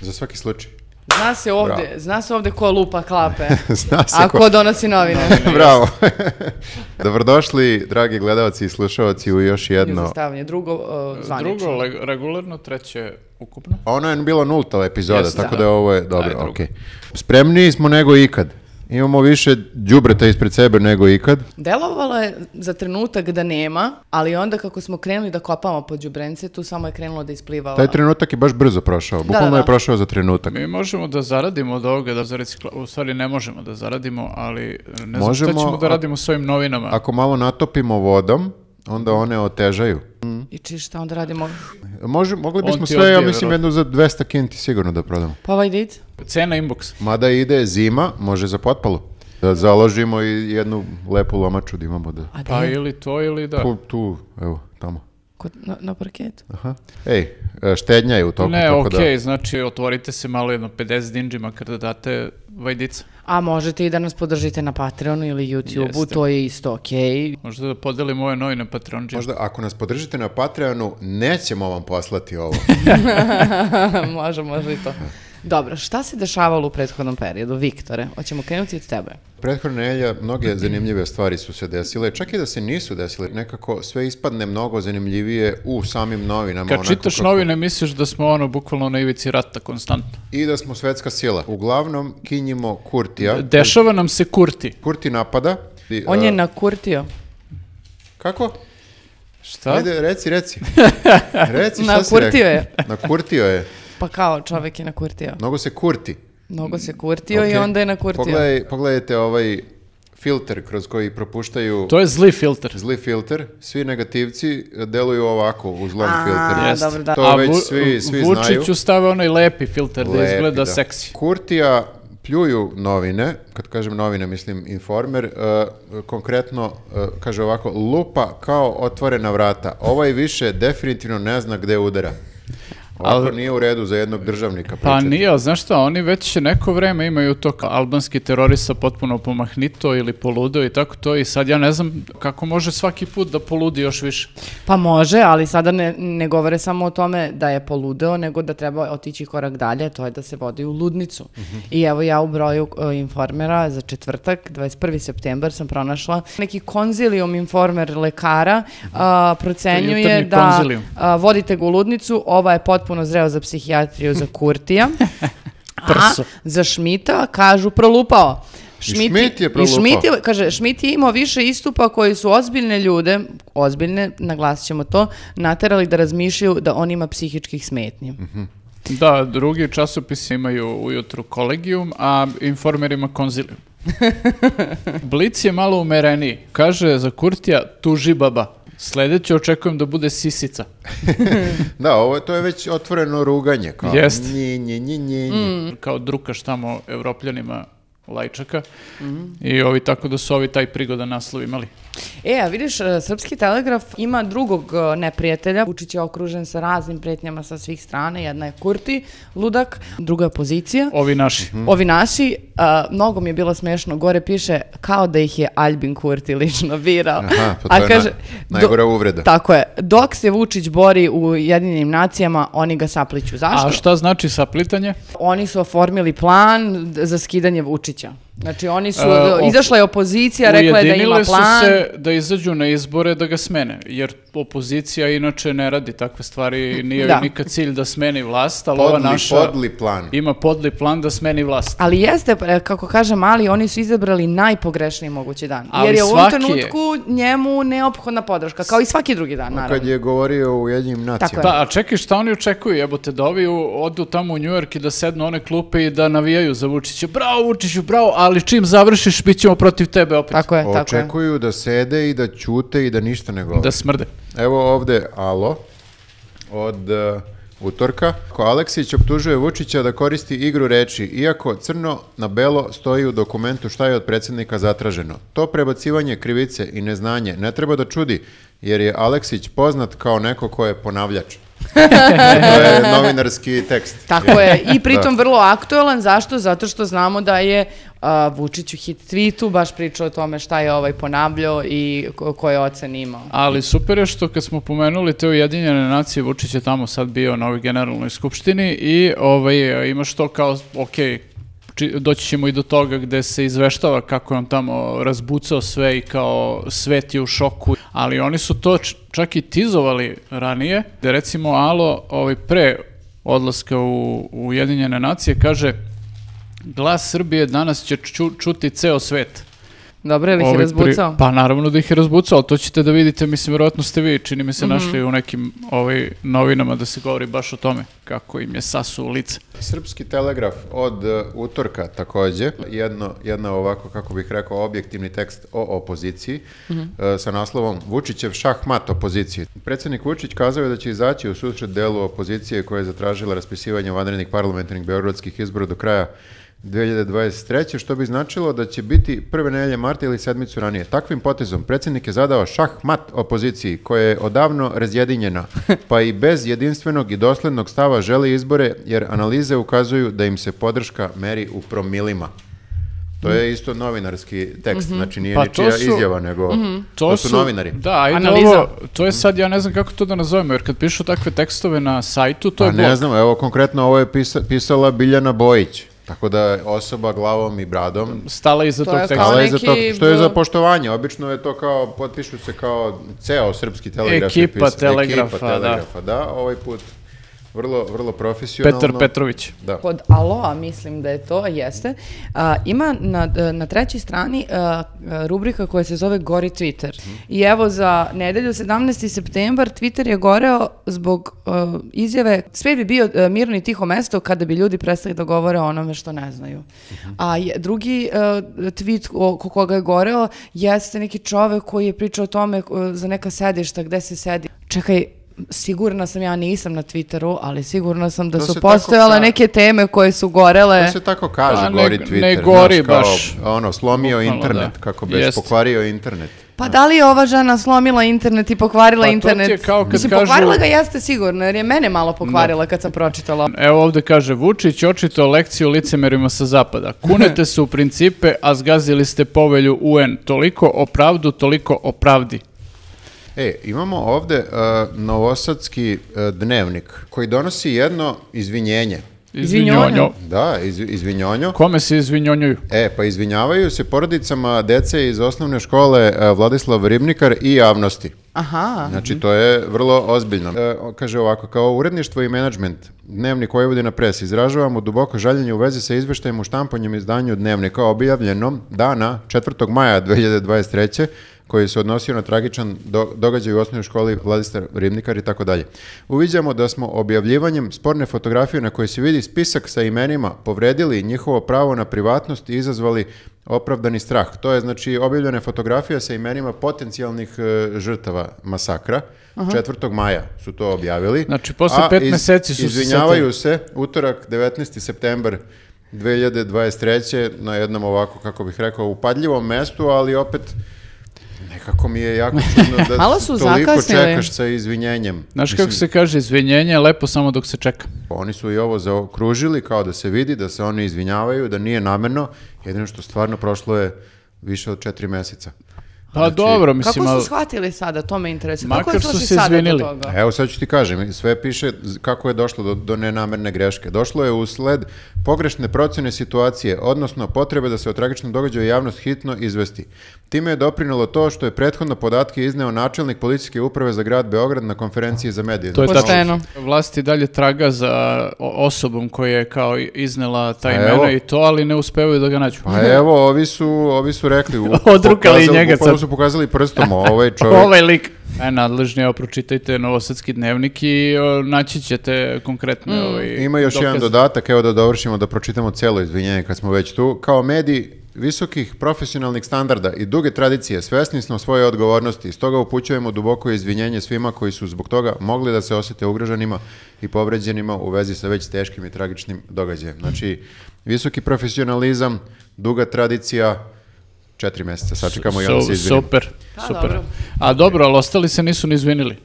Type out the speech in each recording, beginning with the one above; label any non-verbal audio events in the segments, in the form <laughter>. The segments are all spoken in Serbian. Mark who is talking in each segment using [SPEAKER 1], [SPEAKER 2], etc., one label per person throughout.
[SPEAKER 1] za svaki slučaj.
[SPEAKER 2] Zna se ovde,
[SPEAKER 1] Bravo.
[SPEAKER 2] zna se ovde ko lupa
[SPEAKER 1] <laughs>
[SPEAKER 2] klape,
[SPEAKER 1] Zna se
[SPEAKER 2] a
[SPEAKER 1] ko-
[SPEAKER 2] ko donosi novine.
[SPEAKER 1] Bravo. <laughs> Dobrodošli, dragi gledalci i slušalci, u još jedno...
[SPEAKER 2] Izveštavanje, drugo uh, zvanično.
[SPEAKER 3] Pa, Drugo, leg- regularno, treće, ukupno.
[SPEAKER 1] A Ono je bilo nulta epizoda,
[SPEAKER 3] Jeste,
[SPEAKER 1] tako
[SPEAKER 3] da.
[SPEAKER 1] da je ovo je
[SPEAKER 3] Ajde,
[SPEAKER 1] dobro,
[SPEAKER 3] drugo.
[SPEAKER 1] okej. Spremniji smo nego ikad. Imamo više đubreta ispred sebe nego ikad.
[SPEAKER 2] Delovalo je za trenutak da nema, ali onda kako smo krenuli da kopamo po đubrence, tu samo je krenulo da ispliva.
[SPEAKER 1] Taj trenutak je baš brzo prošao, bukvalno
[SPEAKER 2] da, da.
[SPEAKER 1] je prošao za trenutak.
[SPEAKER 3] Mi možemo da zaradimo od ovoga, da za recikla... u stvari ne možemo da zaradimo, ali ne znam
[SPEAKER 1] Možemo,
[SPEAKER 3] šta ćemo da
[SPEAKER 1] a-
[SPEAKER 3] radimo s ovim novinama.
[SPEAKER 1] Ako malo natopimo vodom, onda one otežaju.
[SPEAKER 2] I či šta onda radimo?
[SPEAKER 1] Može, mogli bismo
[SPEAKER 3] On ti
[SPEAKER 1] sve, ja
[SPEAKER 3] odbije,
[SPEAKER 1] mislim, jednu za 200 kinti sigurno da prodamo.
[SPEAKER 2] Pa ovaj vid?
[SPEAKER 3] Cena inboxa.
[SPEAKER 1] Mada ide zima, može za potpalu. Da založimo i jednu lepu lomaču da imamo da...
[SPEAKER 2] A
[SPEAKER 3] Pa
[SPEAKER 2] gde?
[SPEAKER 3] ili to ili da.
[SPEAKER 1] Tu, tu, evo, tamo.
[SPEAKER 2] Kod- na, na parketu.
[SPEAKER 1] Aha. Ej, e, štednja je u toku.
[SPEAKER 3] ne,
[SPEAKER 1] tako da-
[SPEAKER 3] okej, znači otvorite se malo jedno 50 dinđima kada date vajdica.
[SPEAKER 2] A možete i da nas podržite na Patreonu ili YouTubeu,
[SPEAKER 3] Jeste.
[SPEAKER 2] to je isto okej. <laughs>
[SPEAKER 3] Možda da podelimo ove novine Patreon
[SPEAKER 1] Da. Možda ako nas podržite na Patreonu, nećemo vam poslati ovo.
[SPEAKER 2] može, može i to. Dobro, šta se dešavalo u prethodnom periodu, Viktore? Hoćemo krenuti od tebe.
[SPEAKER 1] Prethodne nelja mnoge zanimljive stvari su se desile, čak i da se nisu desile, nekako sve ispadne mnogo zanimljivije u samim novinama.
[SPEAKER 3] Kad
[SPEAKER 1] onako
[SPEAKER 3] čitaš
[SPEAKER 1] kako-
[SPEAKER 3] novine misliš da smo ono bukvalno na ivici rata konstantno.
[SPEAKER 1] I da smo svetska sila. Uglavnom, kinjimo Kurtija.
[SPEAKER 3] Dešava nam se kurti.
[SPEAKER 1] Kurti napada. I,
[SPEAKER 2] On
[SPEAKER 1] e,
[SPEAKER 2] je nakurtio.
[SPEAKER 1] Kako?
[SPEAKER 3] Šta?
[SPEAKER 1] Ajde, reci,
[SPEAKER 2] <laughs>
[SPEAKER 1] reci. Reci šta si
[SPEAKER 2] Nakurtio
[SPEAKER 1] rekao.
[SPEAKER 2] je.
[SPEAKER 1] Nakurtio je.
[SPEAKER 2] Pa kao, čovek je nakurtio.
[SPEAKER 1] Mnogo se kurti.
[SPEAKER 2] Mnogo se kurtio i
[SPEAKER 1] Okej.
[SPEAKER 2] onda je nakurtio.
[SPEAKER 1] Pogledaj, pogledajte ovaj filter kroz koji propuštaju
[SPEAKER 3] To je zli filter.
[SPEAKER 1] zli filter. Svi negativci deluju ovako u zlom
[SPEAKER 2] A,
[SPEAKER 1] filteru.
[SPEAKER 2] Jeste. dobro, da.
[SPEAKER 1] To
[SPEAKER 3] A
[SPEAKER 1] već
[SPEAKER 3] Vu-
[SPEAKER 1] svi, svi znaju.
[SPEAKER 3] Vučiću stave onaj lepi filter da
[SPEAKER 1] Lepi,
[SPEAKER 3] izgleda seksi.
[SPEAKER 1] Kurtija pljuju novine, kad kažem novine mislim informer, e, konkretno e, kaže ovako, lupa kao otvorena vrata. Ovaj više definitivno ne zna gde udara. Ovako nije u redu za jednog državnika.
[SPEAKER 3] Pa
[SPEAKER 1] pričati.
[SPEAKER 3] nije, ali znaš šta, oni već neko vreme imaju to kao albanski terorista potpuno pomahnito ili poludeo i tako to i sad ja ne znam kako može svaki put da poludi još više.
[SPEAKER 2] Pa može, ali sada ne, ne govore samo o tome da je poludeo, nego da treba otići korak dalje, to je da se vodi u ludnicu. I evo ja u broju e, informera za četvrtak, 21. september, sam pronašla neki konzilijum informer lekara, a, procenjuje
[SPEAKER 3] Jutarnji
[SPEAKER 2] da
[SPEAKER 3] konzilijum.
[SPEAKER 2] a, vodite ga u ludnicu, ova je potpuno zreo za psihijatriju za Kurtija.
[SPEAKER 3] Prso.
[SPEAKER 2] A za Šmita kažu prolupao.
[SPEAKER 1] Šmit je prolupao.
[SPEAKER 2] I Šmit je, kaže, Šmit je imao više istupa koji su ozbiljne ljude, ozbiljne, naglasit ćemo to, naterali da razmišljaju da on ima psihičkih smetnji.
[SPEAKER 1] Mhm.
[SPEAKER 3] Da, drugi časopisi imaju ujutru kolegijum, a informer ima konzilium. <laughs> Blic je malo umereniji. Kaže za Kurtija tuži baba. Sledeće očekujem da bude sisica.
[SPEAKER 1] Da, ovo je, to je već otvoreno ruganje. Kao,
[SPEAKER 3] Jeste.
[SPEAKER 1] Nji, nji, nji, nji,
[SPEAKER 2] Mm.
[SPEAKER 1] nji.
[SPEAKER 3] Mm-hmm. Kao drukaš tamo evropljanima lajčaka.
[SPEAKER 2] Mm-hmm.
[SPEAKER 3] I ovi tako da su ovi taj prigodan naslov imali.
[SPEAKER 2] E, a vidiš, e, Srpski telegraf ima drugog e, neprijatelja. Vučić je okružen sa raznim pretnjama sa svih strane. Jedna je Kurti, ludak, druga je pozicija.
[SPEAKER 3] Ovi naši.
[SPEAKER 1] Mm-hmm.
[SPEAKER 2] Ovi naši, a, mnogo mi je bilo smešno, gore piše kao da ih je Aljbin Kurti lično birao.
[SPEAKER 1] Aha, pa to je na- najgora uvreda.
[SPEAKER 2] Tako je. Dok se Vučić bori u jedinim nacijama, oni ga sapliću. Zašto?
[SPEAKER 3] A šta znači saplitanje?
[SPEAKER 2] Oni su oformili plan d- za skidanje Vučića. Znači oni su,
[SPEAKER 3] E, op-
[SPEAKER 2] izašla je opozicija, rekla je da ima
[SPEAKER 3] Ujedinile
[SPEAKER 2] plan.
[SPEAKER 3] su se da izađu na izbore da ga smene, jer opozicija inače ne radi takve stvari, nije
[SPEAKER 2] Da.
[SPEAKER 3] da. nikad cilj da smeni vlast, ali ova
[SPEAKER 1] Podli,
[SPEAKER 3] naša
[SPEAKER 1] podli plan.
[SPEAKER 3] ima podli plan da smeni vlast.
[SPEAKER 2] Ali jeste, e, kako kažem, ali oni su izabrali najpogrešniji mogući dan.
[SPEAKER 3] Ali
[SPEAKER 2] Jer je u ovom
[SPEAKER 3] svaki je.
[SPEAKER 2] trenutku njemu neophodna podrška, kao i svaki drugi dan, naravno.
[SPEAKER 1] Pa Kad je govorio u jedinim nacijama.
[SPEAKER 2] Tako
[SPEAKER 3] Da, a čekaj, šta oni očekuju, jebote, da ovi u- odu tamo u Njujork i da sednu one klupe i da navijaju za Vučića, bravo Vučiću, bravo, ali čim završiš, bit ćemo protiv tebe opet.
[SPEAKER 2] Tako je, tako je.
[SPEAKER 1] Očekuju da sede i da ćute i da ništa ne govore.
[SPEAKER 3] Da smrde.
[SPEAKER 1] Evo ovde Alo od e, utorka. Ko Aleksić optužuje Vučića da koristi igru reči, iako crno na belo stoji u dokumentu šta je od predsjednika zatraženo. To prebacivanje krivice i neznanje ne treba da čudi, jer je Aleksić poznat kao neko ko je ponavljač. <laughs> to je novinarski tekst.
[SPEAKER 2] Tako je, i pritom vrlo aktuelan, zašto? Zato što znamo da je a, Vučić u hit tweetu baš pričao o tome šta je ovaj ponavljao i ko- koje ocene imao.
[SPEAKER 3] Ali super je što kad smo pomenuli te Ujedinjene nacije, Vučić je tamo sad bio na ovoj generalnoj skupštini i ovaj, imaš to kao, ok, či- doći ćemo i do toga gde se izveštava kako je on tamo razbucao sve i kao svet je u šoku, ali oni su to č- čak i tizovali ranije, da recimo Alo ovaj, pre odlaska u u Ujedinjene nacije kaže glas Srbije danas će ču- čuti ceo svet.
[SPEAKER 2] Dobro, je li Da ih je
[SPEAKER 3] Ovaj pri-
[SPEAKER 2] razbucao?
[SPEAKER 3] Pa naravno da ih je razbucao, ali to ćete da vidite, mislim, vjerojatno ste vi, čini mi se,
[SPEAKER 2] Mhm.
[SPEAKER 3] našli u nekim ovaj, novinama da se govori baš o tome, kako im je sasu u lice.
[SPEAKER 1] Srpski telegraf od e, utorka takođe, jedno, jedna ovako, kako bih rekao, objektivni tekst o opoziciji e, sa naslovom Vučićev šahmat opoziciji. Predsjednik Vučić kazao je da će izaći u susret delu opozicije koja je zatražila raspisivanje vanrednih parlamentarnih beogradskih izbora do kraja 2023. što bi značilo da će biti prve nedelje marta ili sedmicu ranije. Takvim potezom predsjednik je zadao šahmat opoziciji koja je odavno
[SPEAKER 3] <laughs>
[SPEAKER 1] razjedinjena, pa i bez jedinstvenog i doslednog stava želi izbore jer analize ukazuju da im se podrška meri u promilima. To je isto novinarski tekst, znači nije
[SPEAKER 3] Pa to
[SPEAKER 1] ničija
[SPEAKER 3] su- Mhm.
[SPEAKER 1] izjava, nego to su novinari.
[SPEAKER 3] Da, ajde
[SPEAKER 2] Analiza.
[SPEAKER 3] ovo, to je sad, ja ne znam kako to da nazovemo, jer kad pišu takve tekstove na sajtu, to
[SPEAKER 1] Pa
[SPEAKER 3] je blog.
[SPEAKER 1] ne znam, evo konkretno ovo je pisa- pisala Biljana Bojić, tako da je osoba glavom i bradom
[SPEAKER 3] Stala iza
[SPEAKER 2] To
[SPEAKER 3] tog
[SPEAKER 2] je
[SPEAKER 3] teksta.
[SPEAKER 2] kao
[SPEAKER 1] Hvala i za
[SPEAKER 2] neki
[SPEAKER 1] to, što je za
[SPEAKER 2] bl-
[SPEAKER 1] poštovanje. Obično je to kao, potpišu se kao ceo srpski telegraf. je
[SPEAKER 3] Ekipa
[SPEAKER 1] pisa-
[SPEAKER 3] Telegrafa,
[SPEAKER 1] Ekipa telegrafa, da. Ovaj put vrlo, vrlo profesionalno.
[SPEAKER 3] Petar Petrović.
[SPEAKER 1] Da.
[SPEAKER 2] Pod Aloa mislim da je to, jeste. A, ima na, na trećoj strani a, rubrika koja se zove Gori Twitter. I evo za nedelju 17. septembar Twitter je goreo zbog a, izjave sve bi bio a, mirno i tiho mesto kada bi ljudi prestali da govore o onome što ne znaju. A je- drugi a, tweet o, ko koga je goreo jeste neki čovek koji je pričao o tome a, za neka sedišta, gde se sedi. Čekaj, sigurna sam, ja nisam na Twitteru, ali sigurna sam da
[SPEAKER 1] To se
[SPEAKER 2] su
[SPEAKER 1] tako
[SPEAKER 2] postojale
[SPEAKER 1] kaže.
[SPEAKER 2] neke teme koje su gorele.
[SPEAKER 1] To se tako kaže,
[SPEAKER 3] Pa ne-
[SPEAKER 1] gori
[SPEAKER 3] ne
[SPEAKER 1] Twitter.
[SPEAKER 3] gori
[SPEAKER 1] znaš, kao,
[SPEAKER 3] baš.
[SPEAKER 1] Ono, slomio
[SPEAKER 3] Bukvalno,
[SPEAKER 1] internet,
[SPEAKER 3] da.
[SPEAKER 1] kako bez,
[SPEAKER 3] Jest.
[SPEAKER 1] pokvario internet.
[SPEAKER 2] Pa da li je ova žena slomila internet i pokvarila
[SPEAKER 3] Pa to ti je
[SPEAKER 2] internet?
[SPEAKER 3] kao kad
[SPEAKER 2] Mislim,
[SPEAKER 3] kažu- Da.
[SPEAKER 2] pokvarila ga jeste sigurno, jer je mene malo pokvarila kad sam pročitala.
[SPEAKER 3] Evo ovde kaže, Vučić očito lekciju licemerima sa zapada. Kunete se u principe, a zgazili ste povelju UN. Toliko o pravdu, toliko o pravdi.
[SPEAKER 1] E, imamo ovde e, novosadski e, dnevnik koji donosi jedno izvinjenje.
[SPEAKER 2] Izvinjonjo.
[SPEAKER 3] Izvinjonjo.
[SPEAKER 1] Da, iz, izvinjonjo.
[SPEAKER 3] Kome se izvinjonjuju?
[SPEAKER 1] E, pa izvinjavaju se porodicama dece iz osnovne škole e, Vladislav Ribnikar i javnosti.
[SPEAKER 2] Aha.
[SPEAKER 1] Znači, to je vrlo ozbiljno. E, o- kaže ovako, kao uredništvo i menadžment, Dnevnik Vojvodina Pres, izražavamo duboko žaljenje u vezi sa izveštajem u štampanjem izdanju Dnevnika, objavljenom dana 4. maja 2023 koji se odnosio na tragičan do- događaj u osnovnoj školi Vladislav Ribnikar i tako dalje. Uviđamo da smo objavljivanjem sporne fotografije na kojoj se vidi spisak sa imenima povredili njihovo pravo na privatnost i izazvali opravdani strah. To je znači objavljena fotografija sa imenima potencijalnih e, žrtava masakra. 4. maja su to objavili.
[SPEAKER 3] Znači, posle
[SPEAKER 1] A
[SPEAKER 3] pet meseci su se
[SPEAKER 1] Izvinjavaju se, utorak 19. september 2023. na jednom ovako, kako bih rekao, upadljivom mestu, ali opet nekako mi je jako
[SPEAKER 2] <laughs>
[SPEAKER 1] čudno da
[SPEAKER 2] Malo su
[SPEAKER 1] toliko
[SPEAKER 2] zakasnili.
[SPEAKER 1] čekaš sa izvinjenjem.
[SPEAKER 3] Znaš
[SPEAKER 1] Mislim,
[SPEAKER 3] kako se kaže, izvinjenje je lepo samo dok se čeka.
[SPEAKER 1] Oni su i ovo zaokružili kao da se vidi, da se oni izvinjavaju, da nije namerno, jedino što stvarno prošlo je više od četiri meseca.
[SPEAKER 3] Pa
[SPEAKER 1] Znači,
[SPEAKER 3] dobro, mislim,
[SPEAKER 2] Kako
[SPEAKER 3] ali-
[SPEAKER 2] su shvatili sada, to me interesuje. Kako
[SPEAKER 3] Makar
[SPEAKER 2] je
[SPEAKER 3] su
[SPEAKER 2] došli
[SPEAKER 3] se
[SPEAKER 2] sada
[SPEAKER 3] izvinili. E.
[SPEAKER 2] do toga?
[SPEAKER 1] Evo sad ću ti kažem, sve piše z- kako je došlo do, do nenamerne greške. Došlo je usled pogrešne procjene situacije, odnosno potrebe da se o tragičnom događaju javnost hitno izvesti. Time je doprinelo to što je prethodno podatke izneo načelnik policijske uprave za grad Beograd na konferenciji za medije.
[SPEAKER 3] To je
[SPEAKER 2] Pošteno.
[SPEAKER 3] tačno. Vlast i dalje traga za o- osobom koja je kao iznela ta
[SPEAKER 1] A
[SPEAKER 3] imena
[SPEAKER 1] Pa evo.
[SPEAKER 3] i to, ali ne uspevaju da ga nađu.
[SPEAKER 1] Pa evo, ovi su, ovi su rekli, u-
[SPEAKER 3] <laughs> Odrukali
[SPEAKER 1] pokazali-
[SPEAKER 3] njega
[SPEAKER 1] bukvalno
[SPEAKER 3] sad.
[SPEAKER 1] su pokazali prstom, ovaj čovjek.
[SPEAKER 3] <laughs> <laughs> Ovaj lik. E, nadležni, evo, pročitajte Novosadski dnevnik i o, naći ćete konkretne
[SPEAKER 2] Mm.
[SPEAKER 3] ovaj,
[SPEAKER 1] Ima još jedan
[SPEAKER 3] dokaze.
[SPEAKER 1] dodatak, evo da dovršimo, da pročitamo celo izvinjenje kad smo već tu. Kao mediji visokih profesionalnih standarda i duge tradicije svesni smo svoje odgovornosti i stoga upućujemo duboko izvinjenje svima koji su zbog toga mogli da se osjete ugroženima i povređenima u vezi sa već teškim i tragičnim događajem. Znači, visoki profesionalizam, duga tradicija, četiri mjeseca sačekamo i onda
[SPEAKER 3] Su-
[SPEAKER 1] se izvinimo.
[SPEAKER 3] Super,
[SPEAKER 2] Pa,
[SPEAKER 3] super.
[SPEAKER 2] dobro.
[SPEAKER 3] A dobro, ali ostali se nisu ni izvinili.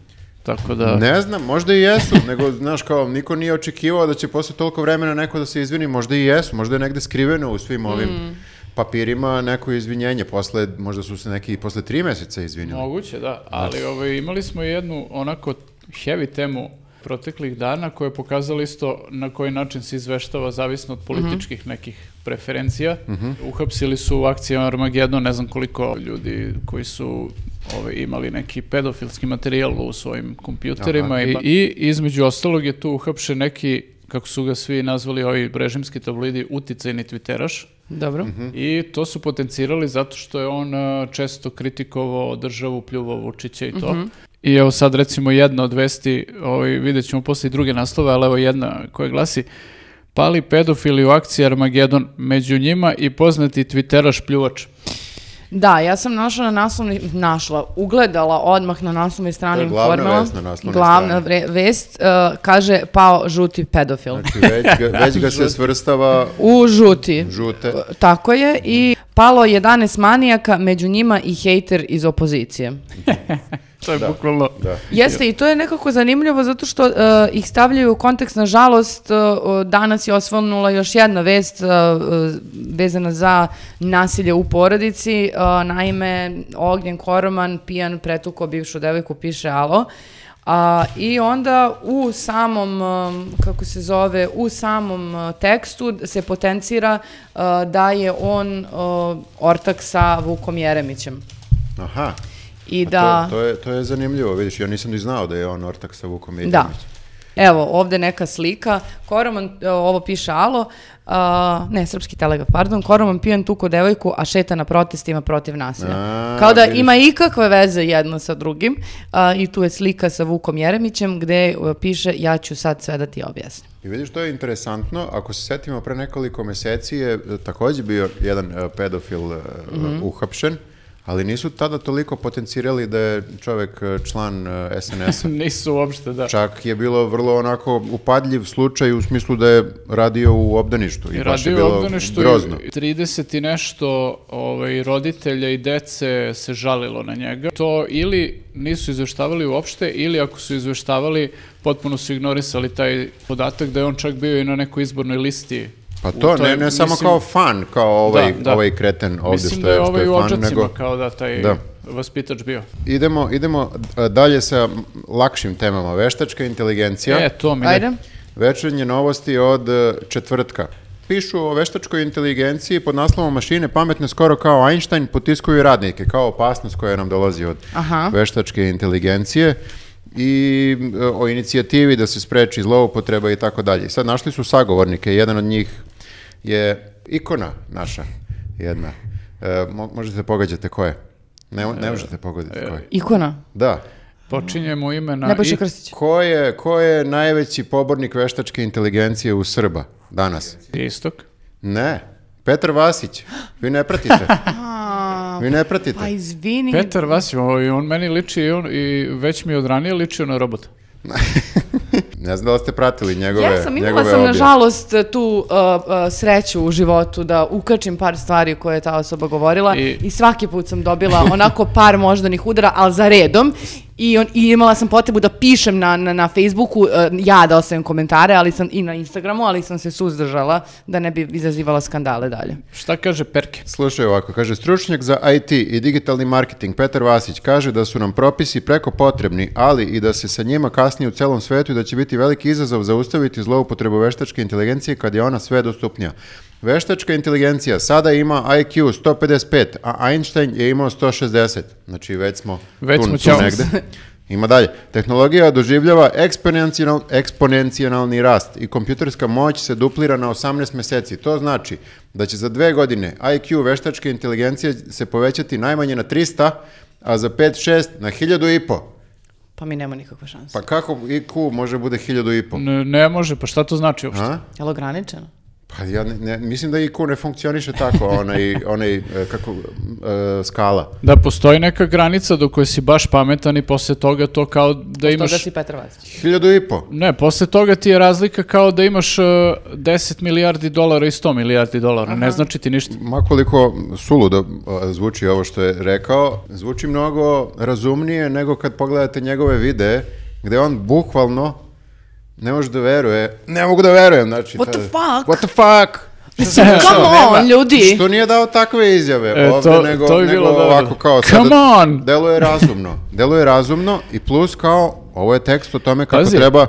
[SPEAKER 3] Tako da...
[SPEAKER 1] Ne znam, možda i jesu, <laughs> nego, znaš, kao, niko nije očekivao da će posle toliko vremena neko da se izvini, možda i jesu, možda je negde skriveno u svim ovim
[SPEAKER 2] Mm.
[SPEAKER 1] papirima neko izvinjenje, posle, možda su se neki i posle tri meseca izvinili.
[SPEAKER 3] Moguće, da. Ali ovaj, imali smo jednu onako heavy temu proteklih dana koja je pokazala isto na koji način se izveštava zavisno od političkih nekih preferencija. Uhapsili su u akciji Armageddon ne znam koliko ljudi koji su ovaj, imali neki pedofilski materijal u svojim kompjuterima i, i između ostalog je tu uhapšen neki kako su ga svi nazvali ovi režimski tabloidi uticajni tviteraš.
[SPEAKER 2] Dobro.
[SPEAKER 3] I to su potencirali zato što je on e, često kritikovao državu, pljuvao Vučića i to. I evo sad recimo jedna od vesti, ovaj, vidjet ćemo poslije i druge naslove, ali evo jedna koja glasi Pali pedofili u akciji Armagedon, među njima i poznati twitteraš pljuvač.
[SPEAKER 2] Da, ja sam našla na naslovni, našla, ugledala odmah na naslovnoj strani
[SPEAKER 1] To je glavna
[SPEAKER 2] Informera.
[SPEAKER 1] vest na naslovnoj
[SPEAKER 2] Glavna
[SPEAKER 1] strani.
[SPEAKER 2] vre- vest, e, kaže, pao žuti pedofil.
[SPEAKER 1] Znači, već ga, već
[SPEAKER 2] <laughs>
[SPEAKER 1] ga se svrstava
[SPEAKER 2] U žuti. E,
[SPEAKER 1] žute.
[SPEAKER 2] Tako je i palo 11 manijaka, među njima i hejter iz opozicije.
[SPEAKER 3] To je bukvalno...
[SPEAKER 1] Da.
[SPEAKER 2] Jeste, i to je nekako zanimljivo zato što e, ih stavljaju u kontekst, nažalost, e, o, danas je osvonula još jedna vest e, e, vezana za nasilje u porodici. E, naime, Ognjen Koroman, pijan, pretuko bivšu devojku, piše alo. A, I onda u samom, um, kako se zove, u samom uh, tekstu se potencira uh, da je on uh, ortak sa Vukom Jeremićem.
[SPEAKER 1] Aha.
[SPEAKER 2] I
[SPEAKER 1] A
[SPEAKER 2] da...
[SPEAKER 1] To, to, je, to je zanimljivo, vidiš, ja nisam ni znao da je on ortak sa Vukom
[SPEAKER 2] Da.
[SPEAKER 1] Jeremićem.
[SPEAKER 2] Evo, ovde neka slika. Koroman, e, ovo piše Alo, a, ne, srpski telegraf, pardon, Koroman pijan tuko devojku, a šeta na protestima protiv nasilja.
[SPEAKER 1] A,
[SPEAKER 2] Kao da
[SPEAKER 1] vidiš.
[SPEAKER 2] ima ikakve veze jedno sa drugim. a, I tu je slika sa Vukom Jeremićem gde e, piše ja ću sad sve da ti objasnim.
[SPEAKER 1] I vidiš, to je interesantno. Ako se setimo, pre nekoliko meseci je e, takođe bio jedan e, pedofil e,
[SPEAKER 3] Mhm.
[SPEAKER 1] uhapšen, ali nisu tada toliko potencirali da je čovek e, član e,
[SPEAKER 3] <laughs>
[SPEAKER 1] SNS-a.
[SPEAKER 3] <laughs> Nisu uopšte, da.
[SPEAKER 1] Čak je bilo vrlo onako upadljiv slučaj u smislu da je radio u obdaništu. I,
[SPEAKER 3] I
[SPEAKER 1] baš je
[SPEAKER 3] radio
[SPEAKER 1] bilo
[SPEAKER 3] obdane što
[SPEAKER 1] grozno.
[SPEAKER 3] je 30 i nešto ovaj, roditelja i dece se žalilo na njega. To ili nisu izveštavali uopšte, ili ako su izveštavali, potpuno su ignorisali taj podatak da je on čak bio i na nekoj izbornoj listi.
[SPEAKER 1] Pa
[SPEAKER 3] U
[SPEAKER 1] to,
[SPEAKER 3] toj-
[SPEAKER 1] ne, ne samo
[SPEAKER 3] mislim-
[SPEAKER 1] kao fan, kao ovaj,
[SPEAKER 3] Da, da.
[SPEAKER 1] ovaj kreten ovde
[SPEAKER 3] Mislim
[SPEAKER 1] što
[SPEAKER 3] da
[SPEAKER 1] je,
[SPEAKER 3] je
[SPEAKER 1] što
[SPEAKER 3] ovaj
[SPEAKER 1] je
[SPEAKER 3] u
[SPEAKER 1] fan,
[SPEAKER 3] Očacima
[SPEAKER 1] nego...
[SPEAKER 3] kao da taj
[SPEAKER 1] Da.
[SPEAKER 3] vaspitač bio.
[SPEAKER 1] Idemo, idemo e, dalje sa lakšim temama. Veštačka inteligencija.
[SPEAKER 3] E, to mi ne-
[SPEAKER 2] Ajde.
[SPEAKER 1] Večernje novosti od e, četvrtka. Pišu o veštačkoj inteligenciji pod naslovom mašine pametne skoro kao Einstein potiskuju radnike, kao opasnost koja nam dolazi od
[SPEAKER 2] Aha.
[SPEAKER 1] veštačke inteligencije i e, o inicijativi da se spreči zloupotreba i tako dalje. Sad našli su sagovornike, jedan od njih je ikona naša, jedna. E, mo- možete da pogađate ko je? Ne, ne možete pogoditi ko
[SPEAKER 2] e,
[SPEAKER 1] je.
[SPEAKER 2] Ikona.
[SPEAKER 1] Da.
[SPEAKER 3] Počinjemo ime na...
[SPEAKER 2] Nebojša
[SPEAKER 3] I-
[SPEAKER 2] Krstić.
[SPEAKER 1] Ko je, ko je najveći pobornik veštačke inteligencije u Srba danas?
[SPEAKER 3] Istok.
[SPEAKER 1] Ne. Petar Vasić. Vi ne
[SPEAKER 2] <laughs>
[SPEAKER 1] pratite.
[SPEAKER 2] A,
[SPEAKER 1] Vi ne pratite.
[SPEAKER 2] pa izvini.
[SPEAKER 3] Petar Vasim, ovaj, on meni liči i, on, i već mi je od ranije ličio na robota.
[SPEAKER 1] <laughs> Ne znam da li ste pratili njegove
[SPEAKER 2] Ja sam imala
[SPEAKER 1] njegove
[SPEAKER 2] sam
[SPEAKER 1] objave.
[SPEAKER 2] nažalost tu uh, uh, sreću u životu da ukačim par stvari koje je ta osoba govorila i,
[SPEAKER 3] I-
[SPEAKER 2] svaki put sam dobila onako par moždanih udara, ali za redom i, on, i imala sam potrebu da pišem na, na, na Facebooku, uh, ja da ostavim komentare ali sam, i na Instagramu, ali sam se suzdržala da ne bi izazivala skandale dalje.
[SPEAKER 3] Šta kaže Perke?
[SPEAKER 1] Slušaj ovako, kaže stručnjak za IT i digitalni marketing Petar Vasić kaže da su nam propisi preko potrebni, ali i da se sa njima kasnije u celom svetu i da će biti veliki izazov zaustaviti zloupotrebu veštačke inteligencije kad je ona sve dostupnija. Veštačka inteligencija sada ima IQ 155, a Einstein je imao 160. Znači već smo
[SPEAKER 3] Već
[SPEAKER 1] tu,
[SPEAKER 3] smo
[SPEAKER 1] tu
[SPEAKER 3] ćao.
[SPEAKER 1] negde. <laughs> Ima dalje. Tehnologija doživljava eksponencijal- eksponencionalni rast i kompjuterska moć se duplira na 18 meseci. To znači da će za dve godine IQ veštačke inteligencije se povećati najmanje na 300, a za 5-6 na 1000 i po.
[SPEAKER 2] Pa mi nema nikakve šanse.
[SPEAKER 1] Pa kako IQ može bude 1000 i po?
[SPEAKER 3] Ne, ne može, pa šta to znači uopšte?
[SPEAKER 1] A?
[SPEAKER 2] Jel ograničeno?
[SPEAKER 1] Pa ja ne, ne- mislim da IQ ne funkcioniše tako, onaj, onaj e, kako, e, skala.
[SPEAKER 3] Da postoji neka granica do koje si baš pametan i posle toga to kao da
[SPEAKER 2] To
[SPEAKER 3] imaš...
[SPEAKER 2] da si Petar
[SPEAKER 1] <laughs>
[SPEAKER 2] Vasić.
[SPEAKER 1] 1000 i po.
[SPEAKER 3] Ne, posle toga ti je razlika kao da imaš e, 10 milijardi dolara i 100 milijardi dolara. Ne znači ti ništa.
[SPEAKER 1] Makoliko suludo a, zvuči ovo što je rekao, zvuči mnogo razumnije nego kad pogledate njegove videe gde on bukvalno ne može da veruje, ne mogu da verujem, znači...
[SPEAKER 2] What the
[SPEAKER 1] tada-
[SPEAKER 2] fuck?
[SPEAKER 1] What the fuck? Šta se
[SPEAKER 3] Mislim,
[SPEAKER 1] dešava?
[SPEAKER 2] come
[SPEAKER 1] Nema.
[SPEAKER 2] on, ljudi.
[SPEAKER 1] Što nije dao takve izjave
[SPEAKER 3] E,
[SPEAKER 1] ovde,
[SPEAKER 3] to-
[SPEAKER 1] nego,
[SPEAKER 3] to bi
[SPEAKER 1] nego
[SPEAKER 3] bilo dobro.
[SPEAKER 1] ovako kao
[SPEAKER 3] Come
[SPEAKER 1] sada-
[SPEAKER 3] on!
[SPEAKER 1] Deluje razumno. Deluje razumno i plus kao, ovo je tekst o tome kako
[SPEAKER 3] Pazi.
[SPEAKER 1] treba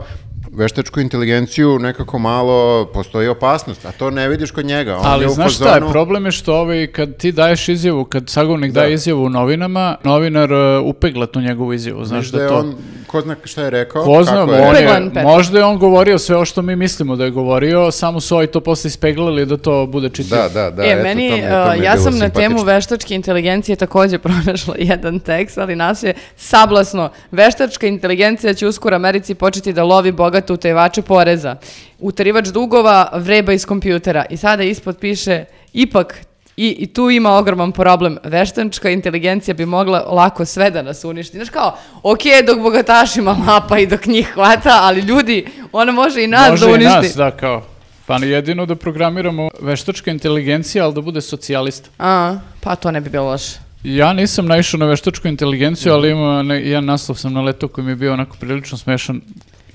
[SPEAKER 1] veštačku inteligenciju nekako malo postoji opasnost, a to ne vidiš kod njega. On je
[SPEAKER 3] Ali
[SPEAKER 1] u
[SPEAKER 3] znaš šta je,
[SPEAKER 1] fazonu-
[SPEAKER 3] problem je što ovaj, kad ti daješ izjavu, kad sagovnik
[SPEAKER 1] Da.
[SPEAKER 3] daje izjavu u novinama, novinar e, upegla tu njegovu izjavu, znaš
[SPEAKER 1] da
[SPEAKER 3] da
[SPEAKER 1] je
[SPEAKER 3] to...
[SPEAKER 1] on, ko zna šta je rekao,
[SPEAKER 3] Poznam,
[SPEAKER 1] kako je
[SPEAKER 3] on
[SPEAKER 1] rekao.
[SPEAKER 2] Upeglan
[SPEAKER 3] je,
[SPEAKER 2] pet.
[SPEAKER 3] možda je on govorio sve o što mi mislimo da je govorio, samo su ovi to posle ispeglali da to bude čitljivo.
[SPEAKER 1] Da, da, da,
[SPEAKER 2] e,
[SPEAKER 1] eto,
[SPEAKER 2] meni,
[SPEAKER 1] to mi je- to
[SPEAKER 2] uh,
[SPEAKER 1] mi je
[SPEAKER 2] ja
[SPEAKER 1] bilo
[SPEAKER 2] sam na temu
[SPEAKER 1] simpatično.
[SPEAKER 2] veštačke inteligencije takođe <laughs> pronašla jedan tekst, ali nas je sablasno. Veštačka inteligencija će uskoro Americi početi da lovi bogate utajivače poreza. Utarivač dugova vreba iz kompjutera. I sada ispod piše, ipak I, I tu ima ogroman problem. Veštačka inteligencija bi mogla lako sve da nas uništi. Znaš kao, ok, dok bogatašima mapa i dok njih hvata, ali ljudi, ona može i nas
[SPEAKER 3] Može
[SPEAKER 2] da
[SPEAKER 3] i
[SPEAKER 2] uništi.
[SPEAKER 3] nas, da, kao. Pa jedino da programiramo veštačka inteligencija, ali da bude socijalista.
[SPEAKER 2] A, pa to ne bi bilo loše.
[SPEAKER 3] Ja nisam naišao na veštačku inteligenciju, ali ima ne- jedan naslov sam na letu koji mi je bio onako prilično smešan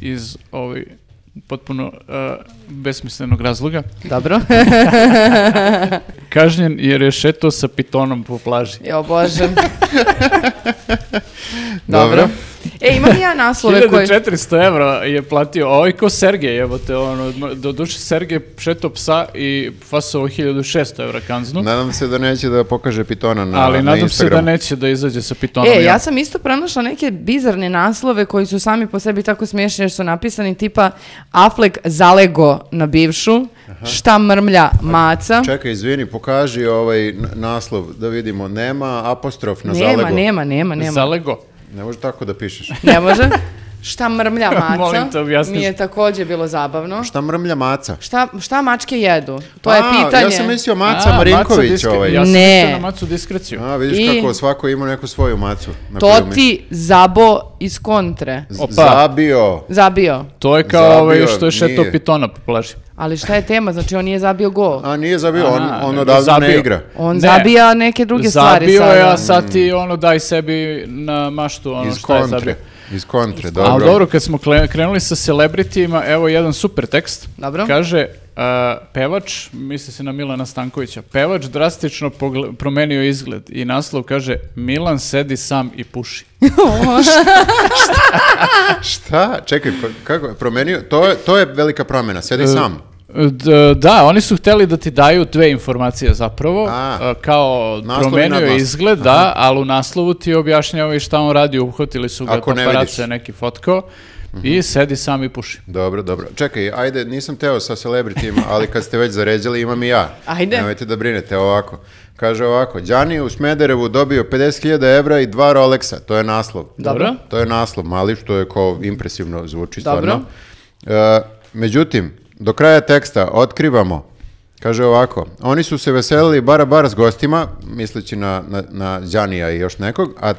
[SPEAKER 3] iz ovaj potpuno eh, besmislenog razloga.
[SPEAKER 2] Dobro. <laughs>
[SPEAKER 3] Kažnjen jer je šetao sa pitonom po plaži.
[SPEAKER 2] Jo,
[SPEAKER 1] <laughs>
[SPEAKER 2] bože.
[SPEAKER 1] Dobro.
[SPEAKER 2] E, imam ja naslove koji...
[SPEAKER 3] 1400 evra je platio, a ovaj ko Sergej, jebote, ono, do duše Sergej šetao psa i fasovo 1600 evra kanznu,
[SPEAKER 1] Nadam se da neće da pokaže pitona na,
[SPEAKER 3] ali
[SPEAKER 1] na
[SPEAKER 3] nadam se da
[SPEAKER 1] Instagramu.
[SPEAKER 3] neće da izađe sa pitonom.
[SPEAKER 2] E, ja sam isto pronašla neke bizarne naslove koji su sami po sebi tako smiješni jer su napisani tipa Affleck zalego na bivšu, šta mrmlja maca.
[SPEAKER 1] Čekaj, izvini, pokaži ovaj n- naslov da vidimo. Nema apostrof na
[SPEAKER 2] Nema,
[SPEAKER 1] zalegu.
[SPEAKER 2] nema, nema, nema.
[SPEAKER 3] Zalego.
[SPEAKER 1] Ne može tako da pišeš.
[SPEAKER 2] Ne može. Šta mrmlja
[SPEAKER 3] <laughs>
[SPEAKER 2] maca.
[SPEAKER 3] Molim te, objasni.
[SPEAKER 2] Mi je takođe bilo zabavno.
[SPEAKER 1] Šta mrmlja maca?
[SPEAKER 2] Šta, šta mačke jedu? To je
[SPEAKER 1] A,
[SPEAKER 2] pitanje.
[SPEAKER 1] Ja sam mislio maca
[SPEAKER 3] A,
[SPEAKER 1] Marinković
[SPEAKER 3] Maco diskre-
[SPEAKER 1] ovaj.
[SPEAKER 3] Ja sam
[SPEAKER 2] Ne.
[SPEAKER 3] mislio na macu diskreciju.
[SPEAKER 1] A, vidiš
[SPEAKER 2] I-
[SPEAKER 1] kako svako ima neku svoju macu. Na
[SPEAKER 2] To
[SPEAKER 1] koju mi-
[SPEAKER 2] ti zabo iz kontre.
[SPEAKER 1] Z-
[SPEAKER 3] Opa.
[SPEAKER 1] Zabio.
[SPEAKER 2] Zabio.
[SPEAKER 3] To je kao
[SPEAKER 1] Zabio,
[SPEAKER 3] ovaj što je šetao
[SPEAKER 1] nije.
[SPEAKER 3] pitona po plaži.
[SPEAKER 2] Ali šta je tema? Znači on nije zabio gol.
[SPEAKER 1] A nije zabio, on,
[SPEAKER 3] A,
[SPEAKER 1] on
[SPEAKER 3] nego
[SPEAKER 1] odavno ne
[SPEAKER 3] zabio.
[SPEAKER 1] igra.
[SPEAKER 2] On
[SPEAKER 3] Ne.
[SPEAKER 2] zabija neke druge stvari
[SPEAKER 3] zabio
[SPEAKER 2] sada.
[SPEAKER 3] je, a sad ti ono daj sebi na maštu ono
[SPEAKER 1] Mm. Iz
[SPEAKER 3] što je zabio.
[SPEAKER 1] kontre. Iz kontre, dobro.
[SPEAKER 3] Ali dobro, kad smo kle- krenuli sa celebritijima, evo jedan super tekst.
[SPEAKER 2] Dobro.
[SPEAKER 3] Kaže, a, pevač, misli se na Milana Stankovića, pevač drastično pogle- promenio izgled i naslov kaže Milan sedi sam i puši.
[SPEAKER 2] <laughs>
[SPEAKER 1] Šta? Čekaj, pa kako je promenio? To je, to je velika promjena, sedi sam.
[SPEAKER 3] D- Da, oni su hteli da ti daju dve informacije zapravo,
[SPEAKER 1] A.
[SPEAKER 3] a, kao
[SPEAKER 1] Naslov i
[SPEAKER 3] promenio je
[SPEAKER 1] nadnaslov.
[SPEAKER 3] izgled, da, ali u naslovu ti objašnjava i šta on radi, uhvatili su ga
[SPEAKER 1] Ako ne
[SPEAKER 3] paparaca
[SPEAKER 1] vidiš. Mhm.
[SPEAKER 3] neki fotkao i sedi sam i puši.
[SPEAKER 1] Dobro, dobro. Čekaj, ajde, nisam teo sa celebritima, ali kad ste već zaređali, imam i ja.
[SPEAKER 2] Ajde.
[SPEAKER 1] Nemojte da brinete ovako. Kaže ovako, Đani u Smederevu dobio 50.000 evra i dva Rolexa, to je naslov.
[SPEAKER 3] Dobro.
[SPEAKER 1] To je naslov, mali, što je kao impresivno zvuči
[SPEAKER 2] Dobro.
[SPEAKER 1] stvarno. E, međutim, do kraja teksta otkrivamo, kaže ovako, oni su se veselili bara bara s gostima, misleći na, na, na Đanija i još nekog, a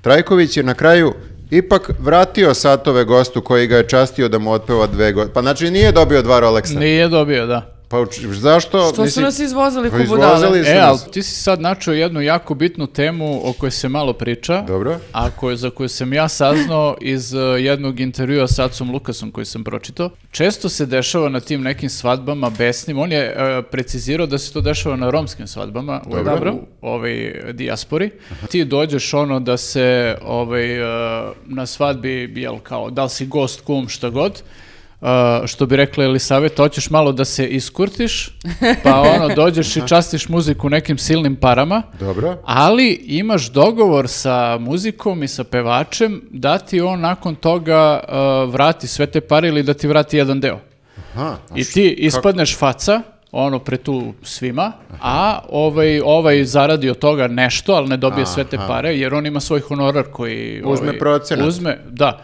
[SPEAKER 1] Trajković je na kraju ipak vratio satove gostu koji ga je častio da mu otpeva dve godine. Pa znači nije dobio dva Rolexa.
[SPEAKER 3] Nije dobio, da.
[SPEAKER 1] Pa uč- zašto?
[SPEAKER 2] Što su
[SPEAKER 1] Mislim,
[SPEAKER 2] nas izvozili
[SPEAKER 1] pa
[SPEAKER 2] ko budale?
[SPEAKER 1] izvozili su
[SPEAKER 3] E, ali
[SPEAKER 1] nas.
[SPEAKER 3] ti si sad načeo jednu jako bitnu temu o kojoj se malo priča,
[SPEAKER 1] Dobro.
[SPEAKER 3] a koju, za koju sam ja saznao iz eh, jednog intervjua sa Acom Lukasom koji sam pročitao. Često se dešava na tim nekim svadbama besnim, on je eh, precizirao da se to dešava na romskim svadbama u,
[SPEAKER 2] Dobro.
[SPEAKER 3] u ovoj dijaspori. Ti dođeš ono da se ovaj, eh, na svadbi, jel kao, da li si gost, kum, šta god, Uh, što bi rekla Elisaveta, hoćeš malo da se iskurtiš, pa ono, dođeš i častiš muziku nekim silnim parama,
[SPEAKER 1] Dobro.
[SPEAKER 3] ali imaš dogovor sa muzikom i sa pevačem da ti on nakon toga uh, vrati sve te pare ili da ti vrati jedan deo.
[SPEAKER 1] Aha, a
[SPEAKER 3] I
[SPEAKER 1] š-
[SPEAKER 3] ti ispadneš faca, ono pre tu svima, a ovaj, ovaj zaradi od toga nešto, ali ne dobije sve te pare, jer on ima svoj honorar koji...
[SPEAKER 1] Uzme
[SPEAKER 3] ovaj,
[SPEAKER 1] procenat. Mhm.
[SPEAKER 3] Uzme, da.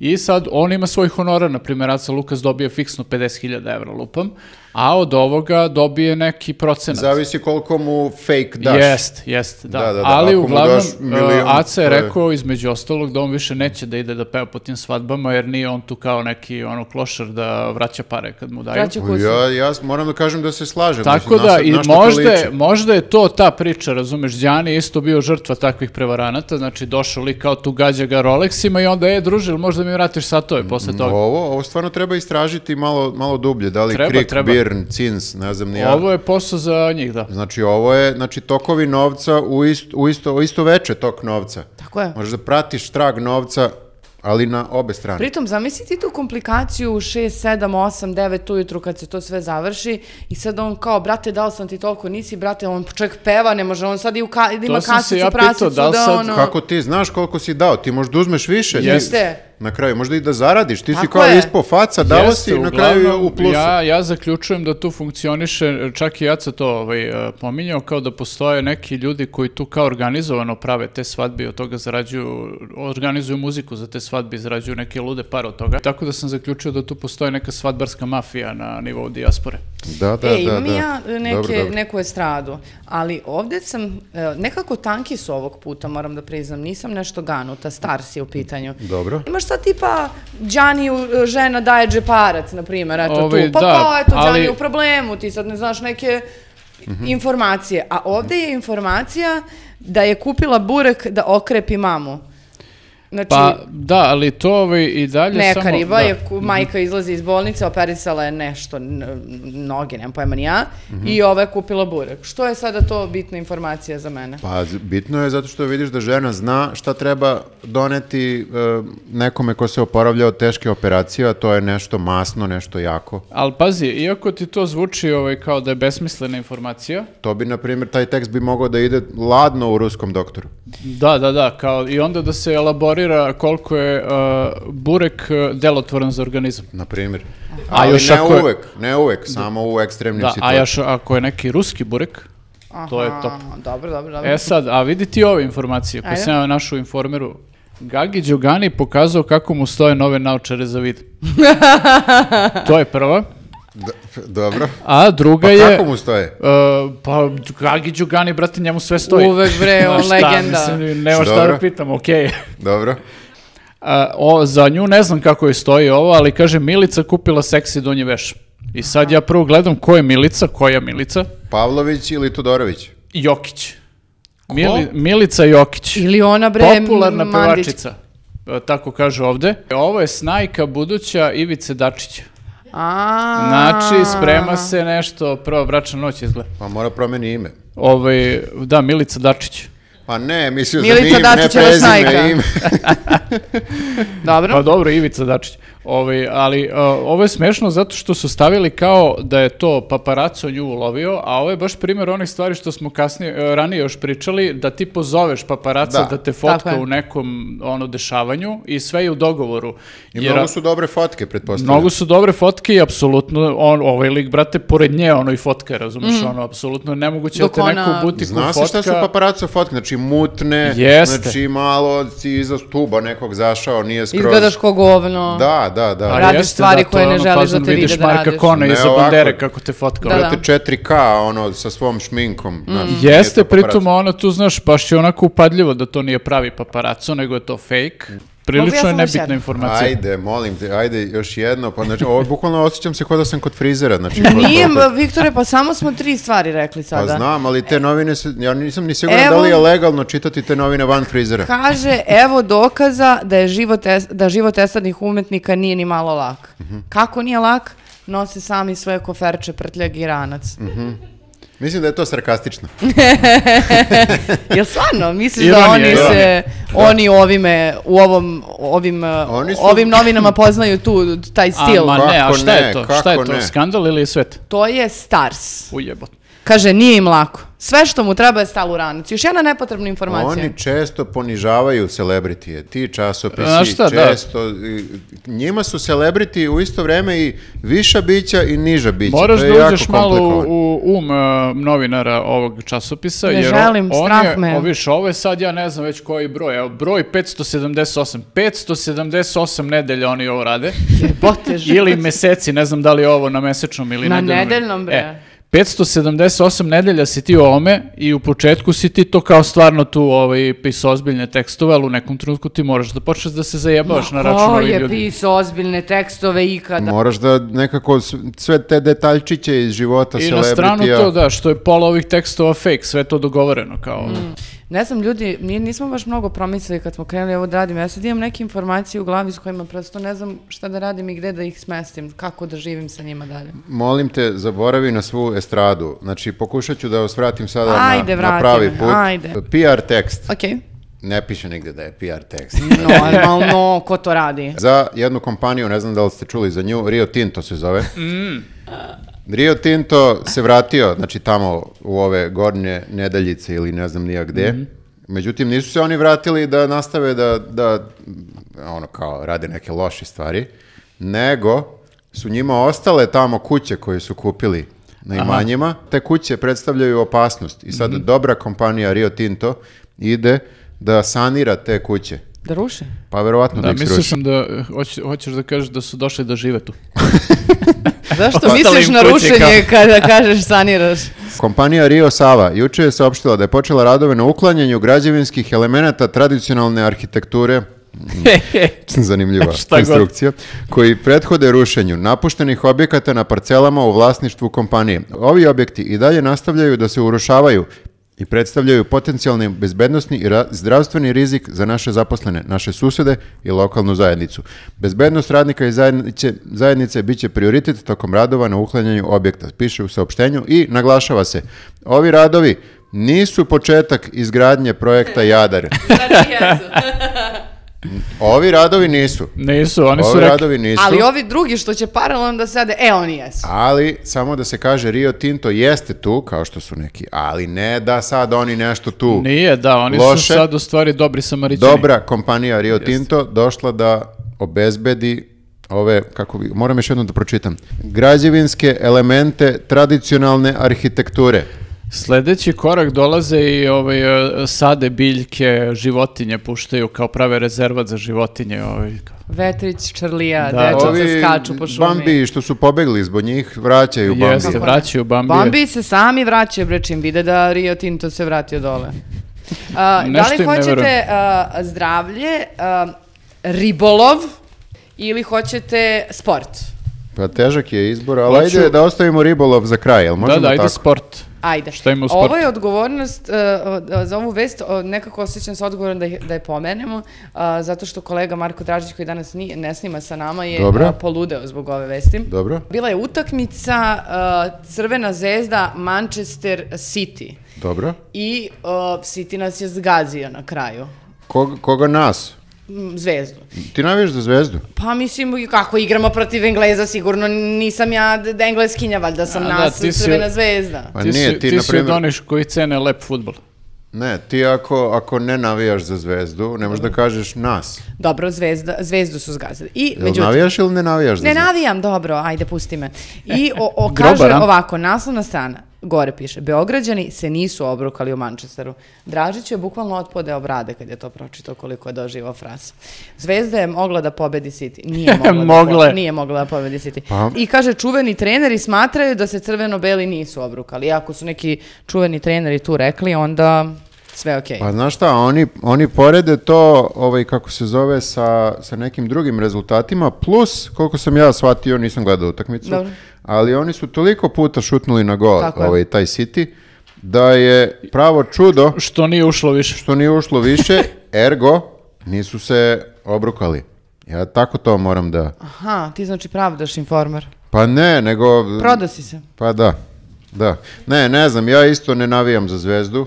[SPEAKER 3] I sad on ima svoj honorar, na primjer, Aca Lukas dobije fiksno 50.000 evra lupam, a od ovoga dobije neki procenat.
[SPEAKER 1] Zavisi koliko mu fake daš.
[SPEAKER 3] Jest, jest, da.
[SPEAKER 1] Da, da, da,
[SPEAKER 3] Ali
[SPEAKER 1] ako mu
[SPEAKER 3] uglavnom,
[SPEAKER 1] daš milion,
[SPEAKER 3] e, Aca je
[SPEAKER 1] to je-
[SPEAKER 3] rekao između ostalog da on više neće da ide da peva po tim svadbama, jer nije on tu kao neki ono klošar da vraća pare kad mu daju.
[SPEAKER 2] Vraća kusu.
[SPEAKER 1] Pa Ja, ja s- moram da kažem da se slažem.
[SPEAKER 3] Tako
[SPEAKER 1] mislim,
[SPEAKER 3] da,
[SPEAKER 1] na šta-
[SPEAKER 3] i
[SPEAKER 1] na šta to
[SPEAKER 3] možda, je-
[SPEAKER 1] liči.
[SPEAKER 3] možda je to ta priča, razumeš, Đani je isto bio žrtva takvih prevaranata, znači došao li kao tu gađa ga Rolexima i onda, e, druže, jel možda mi vratiš satove posle toga.
[SPEAKER 1] Mm, Ovo, ovo stvarno treba istražiti malo, malo dublje, da li
[SPEAKER 3] Treba,
[SPEAKER 1] Krik,
[SPEAKER 3] treba.
[SPEAKER 1] Birn, Cins, ne znam ni ja.
[SPEAKER 3] Ovo je posao za njih, da.
[SPEAKER 1] Znači ovo je, znači tokovi novca u isto, u isto, u isto veče tok novca.
[SPEAKER 2] Tako je.
[SPEAKER 1] Možeš da pratiš trag novca, ali na obe strane.
[SPEAKER 2] Pritom, zamisli ti tu komplikaciju u 6, 7, 8, 9 ujutru kad se to sve završi i sad on kao, brate, dao sam ti toliko, nisi, brate, on čak peva, ne može, on sad i u ka, da ima
[SPEAKER 3] sam se
[SPEAKER 2] kasicu,
[SPEAKER 3] ja pitao,
[SPEAKER 2] prasicu,
[SPEAKER 3] da
[SPEAKER 2] da,
[SPEAKER 3] li sad-
[SPEAKER 2] ono...
[SPEAKER 1] Kako ti znaš koliko si dao? Ti možda uzmeš više. ti-
[SPEAKER 2] Jeste.
[SPEAKER 1] Na kraju, možda i da zaradiš. Ti si
[SPEAKER 2] Tako
[SPEAKER 1] kao
[SPEAKER 2] je.
[SPEAKER 1] ispao faca, dao
[SPEAKER 3] Jeste,
[SPEAKER 1] si na
[SPEAKER 3] uglavnom,
[SPEAKER 1] kraju je u plusu.
[SPEAKER 3] Ja, ja zaključujem da tu funkcioniše, čak i ja sam to ovaj, eh, pominjao, kao da postoje neki ljudi koji tu kao organizovano prave te svadbe i od toga zarađuju, organizuju muziku za te svadbe i zarađuju neke lude par od toga. Tako da sam zaključio da tu postoje neka svadbarska mafija na nivou dijaspore.
[SPEAKER 1] Da, da,
[SPEAKER 2] e,
[SPEAKER 1] da,
[SPEAKER 2] imam
[SPEAKER 1] da.
[SPEAKER 2] i ja neke,
[SPEAKER 1] Dobro, dobro.
[SPEAKER 2] neku estradu, ali ovdje sam, e, nekako tanki su ovog puta, moram da priznam, nisam nešto ganuta, star si u pitanju.
[SPEAKER 1] Dobro.
[SPEAKER 2] Imaš sad tipa, Đaniju e, žena daje džeparac, na primjer, eto
[SPEAKER 3] Ovaj,
[SPEAKER 2] tu, pa
[SPEAKER 3] da,
[SPEAKER 2] kao, eto,
[SPEAKER 3] ali- Mhm.
[SPEAKER 2] Đani u problemu, ti sad ne znaš neke informacije, a ovdje je informacija da je kupila burek da okrepi mamu. Znači,
[SPEAKER 3] Pa da, ali to ovaj, i dalje
[SPEAKER 2] neka
[SPEAKER 3] samo...
[SPEAKER 2] riba
[SPEAKER 3] da.
[SPEAKER 2] je, ku- majka izlazi iz bolnice, operisala je nešto, n- n- noge, nemam pojma ni ja,
[SPEAKER 3] Mhm.
[SPEAKER 2] i ova je kupila burek. Što je sada to bitna informacija za mene?
[SPEAKER 1] Pa z- bitno je zato što vidiš da žena zna šta treba doneti e, nekome ko se oporavlja od teške operacije, a to je nešto masno, nešto jako.
[SPEAKER 3] Ali pazi, iako ti to zvuči ovaj, kao da je besmislena informacija,
[SPEAKER 1] To bi, na primjer, taj tekst bi mogao da ide ladno u ruskom doktoru.
[SPEAKER 3] Da, da, da, kao i onda da se elaborira koliko je uh, burek uh, delotvoran za organizam.
[SPEAKER 1] Na primjer.
[SPEAKER 3] A
[SPEAKER 1] Ali
[SPEAKER 3] još
[SPEAKER 1] ne
[SPEAKER 3] ako je-
[SPEAKER 1] uvek, ne uvek, samo u ekstremnim
[SPEAKER 3] Da, a
[SPEAKER 1] situacijama.
[SPEAKER 3] još ako je neki ruski burek, to je top.
[SPEAKER 2] Aha, Dobro, dobro, dobro.
[SPEAKER 3] E sad, a vidi ti ove informacije koje
[SPEAKER 2] Ajde.
[SPEAKER 3] sam ja našu informeru. Gagi Đugani pokazao kako mu stoje nove naučare za
[SPEAKER 2] <laughs>
[SPEAKER 3] vid. to je prva.
[SPEAKER 1] D- f- <laughs> dobro.
[SPEAKER 3] A druga
[SPEAKER 1] Pa
[SPEAKER 3] je...
[SPEAKER 1] kako mu stoje?
[SPEAKER 3] Uh, pa Gagi Đugani, brate, njemu sve stoji.
[SPEAKER 2] Uvek, bre, on
[SPEAKER 3] Znaš šta,
[SPEAKER 2] legenda.
[SPEAKER 3] Mislim, nema šta
[SPEAKER 1] Dobro.
[SPEAKER 3] da pitam, okej.
[SPEAKER 1] Dobro.
[SPEAKER 3] A, o, za nju ne znam kako je stoji ovo, ali kaže Milica kupila seksi donji veš. I sad ja prvo gledam ko je Milica, koja Milica?
[SPEAKER 1] Pavlović ili Todorović?
[SPEAKER 3] Jokić. Mili- Milica Jokić.
[SPEAKER 2] Ili ona bre,
[SPEAKER 3] Popularna
[SPEAKER 2] Mandić.
[SPEAKER 3] pevačica. E, Tako kaže ovde. E, Ovo je snajka buduća Ivice Dačića.
[SPEAKER 2] A,
[SPEAKER 3] Znači, sprema se nešto, prva bračna noć izgleda.
[SPEAKER 1] Pa mora promeni ime.
[SPEAKER 3] Ovaj, da, Milica Dačić.
[SPEAKER 1] Pa ne, mislio sam
[SPEAKER 2] Milica
[SPEAKER 1] im, ne
[SPEAKER 2] Dačićeva snajka.
[SPEAKER 1] prezime, ime.
[SPEAKER 2] Dobro.
[SPEAKER 3] Pa dobro, Ivica Dačić. Ovaj, ali a, ovo je smešno zato što su stavili kao da je to paparaco nju ulovio, a ovo je baš primjer onih stvari što smo kasnije, e, ranije još pričali, da ti pozoveš paparaca da,
[SPEAKER 1] Da.
[SPEAKER 3] te
[SPEAKER 2] Tako
[SPEAKER 3] fotka
[SPEAKER 2] je.
[SPEAKER 3] u nekom ono dešavanju i sve je u dogovoru.
[SPEAKER 1] I mnogo su dobre fotke, pretpostavljam.
[SPEAKER 3] Mnogo su dobre fotke i apsolutno on, ovaj lik, brate, pored nje ono i fotka, razumeš, ono, apsolutno nemoguće da
[SPEAKER 2] Mhm. Dok
[SPEAKER 3] te neko
[SPEAKER 2] ona-
[SPEAKER 3] u butiku
[SPEAKER 1] Zna se
[SPEAKER 3] fotka.
[SPEAKER 1] šta su paparaco fotke, znači mutne,
[SPEAKER 3] Jeste.
[SPEAKER 1] znači malo si iza stuba nekog zašao, nije skroz.
[SPEAKER 2] Izgledaš ko govno.
[SPEAKER 1] Da, da, da. da.
[SPEAKER 3] Ali
[SPEAKER 2] Radiš
[SPEAKER 3] jeste,
[SPEAKER 2] stvari
[SPEAKER 3] da, to
[SPEAKER 2] koje
[SPEAKER 3] je
[SPEAKER 2] ne
[SPEAKER 3] ono
[SPEAKER 2] želiš da
[SPEAKER 3] fazon,
[SPEAKER 2] te vide
[SPEAKER 3] vidiš
[SPEAKER 2] da
[SPEAKER 3] Marka
[SPEAKER 2] radiš.
[SPEAKER 3] Kona
[SPEAKER 1] Ne
[SPEAKER 3] iza
[SPEAKER 1] ovako.
[SPEAKER 3] bandere kako te fotka.
[SPEAKER 2] Da, da.
[SPEAKER 1] Brate, 4K, ono, sa svom šminkom. znaš, nije
[SPEAKER 3] Jeste,
[SPEAKER 1] to paparaco.
[SPEAKER 3] pritom ona tu, znaš, baš je onako upadljivo da to nije pravi paparaco, nego je to fake.
[SPEAKER 2] Mogu ja
[SPEAKER 3] Prilično
[SPEAKER 2] samo
[SPEAKER 3] je
[SPEAKER 2] još
[SPEAKER 3] nebitna
[SPEAKER 2] jednu?
[SPEAKER 3] informacija.
[SPEAKER 1] Ajde, molim te, ajde još jedno. Pa, znači, ovo, bukvalno osjećam se kao da sam kod frizera. Znači, kod-
[SPEAKER 2] Nije, m, Viktore, pa samo smo tri stvari rekli
[SPEAKER 1] Pa
[SPEAKER 2] sada.
[SPEAKER 1] znam, ali te novine, se, ja nisam ni siguran
[SPEAKER 2] da. Evo-
[SPEAKER 1] da li je legalno čitati te novine van frizera.
[SPEAKER 2] Kaže, evo dokaza da je život, es- da život esadnih umetnika nije ni malo lak.
[SPEAKER 1] Mhm.
[SPEAKER 2] Kako nije lak? Nose sami svoje koferče, prtljag i ranac.
[SPEAKER 1] Mhm. Mislim da je to sarkastično.
[SPEAKER 2] Jel stvarno? Misliš da
[SPEAKER 3] Ironija,
[SPEAKER 2] oni
[SPEAKER 1] ironija.
[SPEAKER 2] se, oni ovime, u ovom, ovim, eh,
[SPEAKER 1] Da. Oni su-
[SPEAKER 2] ovim novinama poznaju tu, taj stil?
[SPEAKER 3] A, ma ne, a
[SPEAKER 1] Kako
[SPEAKER 3] šta je
[SPEAKER 1] ne,
[SPEAKER 3] to? Šta je
[SPEAKER 1] kako
[SPEAKER 3] to?
[SPEAKER 1] ne?
[SPEAKER 3] Skandal ili svet?
[SPEAKER 2] To je Stars.
[SPEAKER 3] Ujebot.
[SPEAKER 2] Kaže, nije im lako. Sve što mu treba je stalo u ranac. Još jedna nepotrebna informacija.
[SPEAKER 1] Oni često ponižavaju celebritije, ti časopisi
[SPEAKER 3] Znaš šta, da.
[SPEAKER 1] često, i- njima su celebriti u isto vreme i viša bića i niža bića.
[SPEAKER 3] Moraš
[SPEAKER 1] to je
[SPEAKER 3] da
[SPEAKER 1] jako
[SPEAKER 3] uđeš malo
[SPEAKER 1] komplikovano.
[SPEAKER 3] u um e, novinara ovog časopisa.
[SPEAKER 2] Ne
[SPEAKER 3] jer o-
[SPEAKER 2] želim,
[SPEAKER 3] on
[SPEAKER 2] strah
[SPEAKER 3] je,
[SPEAKER 2] me.
[SPEAKER 3] o, viš, ovo je sad, ja ne znam već koji broj. Evo, broj 578. 578 nedelja oni ovo rade.
[SPEAKER 2] Botež.
[SPEAKER 3] <laughs> ili meseci, ne znam da li je ovo na mesečnom ili
[SPEAKER 2] Na
[SPEAKER 3] nedeljnom.
[SPEAKER 2] nedeljnom, bre.
[SPEAKER 3] E, 578 nedelja si ti u ovome i u početku si ti to kao stvarno tu ovaj, pisao ozbiljne tekstove, ali u nekom trenutku ti moraš da počneš da se zajebavaš na račun
[SPEAKER 2] Ko
[SPEAKER 3] ovih
[SPEAKER 2] je
[SPEAKER 3] ljudi.
[SPEAKER 2] pisao ozbiljne tekstove ikada?
[SPEAKER 1] Moraš da nekako s- sve te detaljčiće iz života
[SPEAKER 3] I na stranu da,
[SPEAKER 1] celebritija.
[SPEAKER 3] to da, što je pola ovih tekstova fake, sve je to dogovoreno kao.
[SPEAKER 2] Ne znam, ljudi, mi nismo baš mnogo promislili kad smo krenuli ovo da radimo. Ja sad imam neke informacije u glavi s kojima prosto ne znam šta da radim i gde da ih smestim, kako da živim sa njima dalje.
[SPEAKER 1] Molim te, zaboravi na svu estradu. Znači, pokušat ću da vas vratim sada na-
[SPEAKER 2] Ajde,
[SPEAKER 1] na,
[SPEAKER 2] vrati
[SPEAKER 1] pravi
[SPEAKER 2] me,
[SPEAKER 1] put.
[SPEAKER 2] ajde.
[SPEAKER 1] PR tekst.
[SPEAKER 2] Okej.
[SPEAKER 1] Ne piše nigde da je PR tekst.
[SPEAKER 2] Normalno, ko to radi?
[SPEAKER 1] za jednu kompaniju, ne znam da li ste čuli za nju, Rio Tinto se zove. Rio Tinto se vratio, znači tamo u ove gornje nedaljice ili ne znam nija gde. Međutim, nisu se oni vratili da nastave da, da ono kao rade neke loše stvari, nego su njima ostale tamo kuće koje su kupili na imanjima. Te kuće predstavljaju opasnost i sad dobra kompanija Rio Tinto ide da sanira te kuće.
[SPEAKER 2] Da ruše?
[SPEAKER 1] Pa verovatno da,
[SPEAKER 3] Da,
[SPEAKER 1] ih
[SPEAKER 3] mislio
[SPEAKER 1] sruši.
[SPEAKER 3] sam da eh, hoć- hoćeš da kažeš da su došli da žive tu.
[SPEAKER 2] Zašto
[SPEAKER 3] Ostale
[SPEAKER 2] misliš
[SPEAKER 3] im
[SPEAKER 2] na
[SPEAKER 3] kuće
[SPEAKER 2] rušenje kada kažeš saniraš?
[SPEAKER 1] Kompanija Rio Sava juče je saopštila da je počela radove na uklanjanju građevinskih elemenata tradicionalne arhitekture
[SPEAKER 3] <laughs>
[SPEAKER 1] zanimljiva
[SPEAKER 3] Šta god.
[SPEAKER 1] konstrukcija, koji prethode rušenju napuštenih objekata na parcelama u vlasništvu kompanije. Ovi objekti i dalje nastavljaju da se urušavaju i predstavljaju potencijalni bezbednosni i ra- zdravstveni rizik za naše zaposlene, naše susede i lokalnu zajednicu. Bezbednost radnika i zajednice, zajednice bit će prioritet tokom radova na uklanjanju objekta, piše u saopštenju i naglašava se. Ovi radovi nisu početak izgradnje projekta Jadar.
[SPEAKER 3] <laughs>
[SPEAKER 1] Ovi radovi nisu.
[SPEAKER 3] Nisu, oni su
[SPEAKER 1] Ovi
[SPEAKER 3] rekli.
[SPEAKER 1] radovi nisu.
[SPEAKER 2] Ali ovi drugi što će paralelno da se rade, e, oni jesu.
[SPEAKER 1] Ali, samo da se kaže, Rio Tinto jeste tu, kao što su neki, ali ne da sad oni nešto tu.
[SPEAKER 3] Nije, da, oni
[SPEAKER 1] Loše.
[SPEAKER 3] su sad u stvari dobri samarićani.
[SPEAKER 1] Dobra kompanija Rio Tinto došla da obezbedi ove, kako bi, moram još jednom da pročitam, građevinske elemente tradicionalne arhitekture.
[SPEAKER 3] Sledeći korak dolaze i ovaj, eh, sade biljke, životinje puštaju kao prave rezervat za životinje. Ovaj.
[SPEAKER 2] Vetrić, Črlija,
[SPEAKER 3] Da,
[SPEAKER 2] dečaca
[SPEAKER 1] Ovi
[SPEAKER 2] skaču po šumi.
[SPEAKER 1] Bambi što su pobegli zbog njih, vraćaju Bambi.
[SPEAKER 3] Jeste, vraćaju bambije.
[SPEAKER 2] pa? Bambi se sami vraćaju, bre, čim vide da Rio Tinto se vratio dole. A, da
[SPEAKER 3] Nešto
[SPEAKER 2] li
[SPEAKER 3] im ne
[SPEAKER 2] hoćete
[SPEAKER 3] verujem.
[SPEAKER 2] a, zdravlje, a, ribolov ili hoćete sport?
[SPEAKER 1] Pa težak je izbor, ali
[SPEAKER 3] Hoću-
[SPEAKER 1] ajde da ostavimo ribolov za kraj, jel možemo
[SPEAKER 3] Da, da, ajde
[SPEAKER 1] tako?
[SPEAKER 3] sport.
[SPEAKER 2] Ajde.
[SPEAKER 3] Šta ima u sportu?
[SPEAKER 2] Ovo je odgovornost, e, o- za ovu vest o, nekako osjećam se odgovorom da, ih- da je pomenemo, a, zato što kolega Marko Dražić koji danas nije, ne snima sa nama je
[SPEAKER 1] Dobro.
[SPEAKER 2] a, poludeo zbog ove vesti.
[SPEAKER 1] Dobro,
[SPEAKER 2] Bila je utakmica e, Crvena zvezda Manchester City
[SPEAKER 1] dobro.
[SPEAKER 2] i e, City nas je zgazio na kraju,
[SPEAKER 1] Kog- koga nas?
[SPEAKER 2] Mm, zvezdu.
[SPEAKER 1] Ti navijaš za zvezdu?
[SPEAKER 2] Pa mislim, i kako igramo protiv Engleza, sigurno nisam ja d- da engleskinja, valjda sam
[SPEAKER 3] A, da,
[SPEAKER 2] nas
[SPEAKER 3] ti si-
[SPEAKER 2] Crvena zvezda.
[SPEAKER 1] Pa
[SPEAKER 3] ti
[SPEAKER 1] nije,
[SPEAKER 3] si,
[SPEAKER 1] ti,
[SPEAKER 3] ti
[SPEAKER 1] na
[SPEAKER 3] si
[SPEAKER 1] primjer-
[SPEAKER 3] od onih koji cene lep futbol.
[SPEAKER 1] Ne, ti ako, ako ne navijaš za zvezdu, ne možeš da kažeš nas.
[SPEAKER 2] Dobro, zvezda, zvezdu su zgazili. I,
[SPEAKER 1] Jel
[SPEAKER 2] međutim,
[SPEAKER 1] navijaš ili ne navijaš za
[SPEAKER 2] Ne
[SPEAKER 1] zvezdu?
[SPEAKER 2] navijam, dobro, ajde, pusti me. I o, o,
[SPEAKER 3] Grobar,
[SPEAKER 2] kaže
[SPEAKER 3] a?
[SPEAKER 2] ovako, naslovna strana, gore piše, Beograđani se nisu obrukali u Manchesteru. Dražić je bukvalno otpodeo brade kad je to pročitao koliko je doživao fras. Zvezda je mogla da pobedi City. Nije mogla,
[SPEAKER 3] Mogle.
[SPEAKER 2] Da, po- nije mogla da pobedi City.
[SPEAKER 1] Pa.
[SPEAKER 2] I kaže, čuveni treneri smatraju da se crveno-beli nisu obrukali. I Ako su neki čuveni treneri tu rekli, onda sve okej.
[SPEAKER 1] Pa znaš šta, oni, oni porede to, ovaj, kako se zove, sa, sa nekim drugim rezultatima, plus, koliko sam ja shvatio, nisam gledao utakmicu,
[SPEAKER 2] Dobro.
[SPEAKER 1] ali oni su toliko puta šutnuli na gol,
[SPEAKER 2] Tako je.
[SPEAKER 1] ovaj, taj City, da je pravo čudo
[SPEAKER 3] Što nije ušlo više.
[SPEAKER 1] što nije ušlo
[SPEAKER 2] <laughs>
[SPEAKER 1] više, ergo, nisu se obrukali. Ja tako to moram da...
[SPEAKER 2] Aha, ti znači pravdaš informer.
[SPEAKER 1] Pa ne, nego...
[SPEAKER 2] Prodao si se.
[SPEAKER 1] Pa da, da. Ne, ne znam, ja isto ne navijam za zvezdu,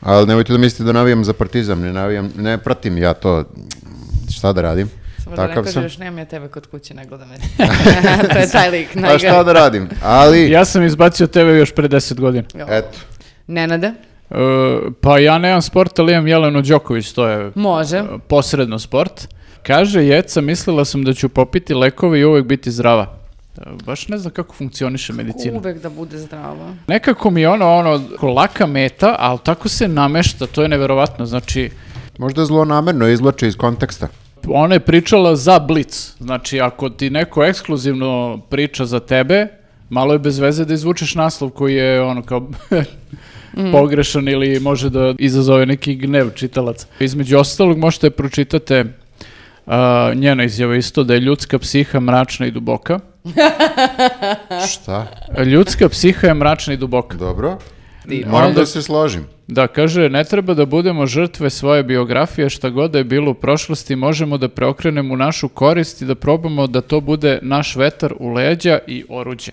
[SPEAKER 1] ali nemojte da mislite da navijam za partizam, ne navijam, ne pratim ja to, šta da radim.
[SPEAKER 2] Samo da ne
[SPEAKER 1] Takav
[SPEAKER 2] kaže,
[SPEAKER 1] sam.
[SPEAKER 2] još nemam ja tebe kod kuće,
[SPEAKER 1] <laughs>
[SPEAKER 2] ne gleda mene. to je taj lik.
[SPEAKER 1] Pa šta da radim, ali,
[SPEAKER 3] Ja sam izbacio tebe još pre 10 godina.
[SPEAKER 1] eto,
[SPEAKER 2] Nenade,
[SPEAKER 3] E, pa ja nemam sport, ali imam Jelenu Đoković, to je
[SPEAKER 2] može.
[SPEAKER 3] e, posredno sport. Kaže, jeca, mislila sam da ću popiti lekove i uvek biti zdrava. E, Baš ne znam kako funkcioniše medicina.
[SPEAKER 2] Uvek da bude zdravo.
[SPEAKER 3] Nekako mi je ono, ono, ko laka meta, ali tako se namešta, to je neverovatno. Znači,
[SPEAKER 1] možda zlonamerno izvlače iz konteksta.
[SPEAKER 3] ona je pričala za blic. Znači, ako ti neko ekskluzivno priča za tebe, malo je bez veze da izvučeš naslov koji je ono kao <laughs> pogrešan ili može da izazove neki gnev čitalaca. Između ostalog možete pročitate a, njena izjava isto da je ljudska psiha mračna i duboka.
[SPEAKER 1] Šta?
[SPEAKER 3] Ljudska psiha je mračna i duboka.
[SPEAKER 1] Dobro.
[SPEAKER 2] divno.
[SPEAKER 1] Moram
[SPEAKER 3] Onda-
[SPEAKER 1] da se složim.
[SPEAKER 3] Da, kaže, ne treba da budemo žrtve svoje biografije, šta god da je bilo u prošlosti, možemo da preokrenemo u našu korist i da probamo da to bude naš vetar u leđa i oruđe.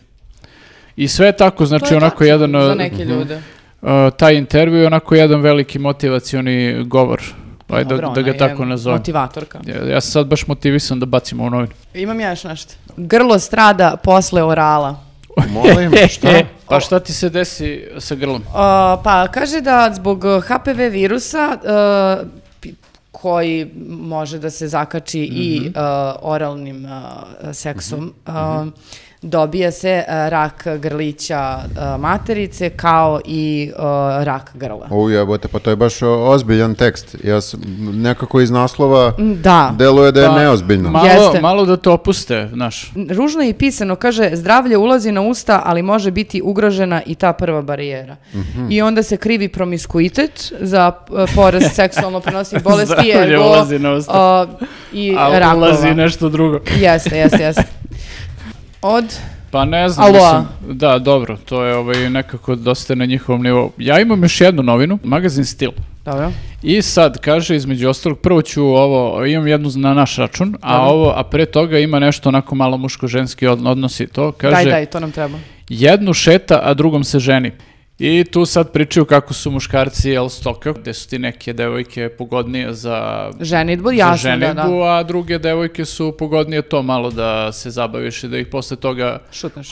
[SPEAKER 3] I sve je tako, znači onako jedan,
[SPEAKER 2] Za
[SPEAKER 3] uh,
[SPEAKER 2] neke ljude.
[SPEAKER 3] uh, taj intervju je onako jedan veliki motivacioni govor, ajde
[SPEAKER 2] Dobro, um, ona
[SPEAKER 3] da, da ga
[SPEAKER 2] je
[SPEAKER 3] tako nazovem.
[SPEAKER 2] Motivatorka.
[SPEAKER 3] Ja, ja sam sad baš motivisan da bacimo u novinu.
[SPEAKER 2] Imam ja još nešto. Grlo strada posle orala.
[SPEAKER 3] <laughs>
[SPEAKER 1] Molim, šta?
[SPEAKER 3] E, pa šta ti se desi sa grlom?
[SPEAKER 2] A, pa kaže da zbog eh, HPV virusa eh, pi- koji može da se zakači i eh, oralnim eh, seksom, eh, dobija se eh, rak grlića eh, materice kao i eh, rak grla.
[SPEAKER 1] U jebote, pa to je baš o, ozbiljan tekst. Ja sam nekako iz naslova
[SPEAKER 2] Da.
[SPEAKER 1] deluje da je
[SPEAKER 3] Pa,
[SPEAKER 1] neozbiljno.
[SPEAKER 3] Malo,
[SPEAKER 2] Jeste.
[SPEAKER 3] malo da te opuste, znaš.
[SPEAKER 2] Ružno je i pisano, kaže, zdravlje ulazi na usta, ali može biti ugrožena i ta prva barijera.
[SPEAKER 3] Mhm.
[SPEAKER 2] I onda se krivi promiskuitet za e,
[SPEAKER 3] <laughs>
[SPEAKER 2] porast seksualno prenosnih bolesti,
[SPEAKER 3] Zdravlje
[SPEAKER 2] ergo,
[SPEAKER 3] ulazi na usta.
[SPEAKER 2] e, i
[SPEAKER 3] A
[SPEAKER 2] rakova.
[SPEAKER 3] ulazi nešto drugo.
[SPEAKER 2] Jeste, jeste, jeste. Od,
[SPEAKER 3] Pa ne znam,
[SPEAKER 2] Aloa.
[SPEAKER 3] mislim, da, dobro, to je ovaj, nekako dosta na njihovom nivou. Ja imam još jednu novinu, magazin Stil.
[SPEAKER 2] dobro,
[SPEAKER 3] I sad, kaže, između ostalog, prvo ću ovo, imam jednu na naš račun, a ovo, a pre toga ima nešto onako malo muško-ženski od- odnos i to. Kaže,
[SPEAKER 2] daj, daj, to nam treba.
[SPEAKER 3] jednu šeta, a drugom se ženi. I tu sad pričaju kako su muškarci jel stoka, gde su ti neke devojke pogodnije za
[SPEAKER 2] Ženitbu,
[SPEAKER 3] za
[SPEAKER 2] jasno, da, da.
[SPEAKER 3] ženidbu, a druge devojke su pogodnije to malo da se zabaviš i da ih posle toga
[SPEAKER 2] Šutneš.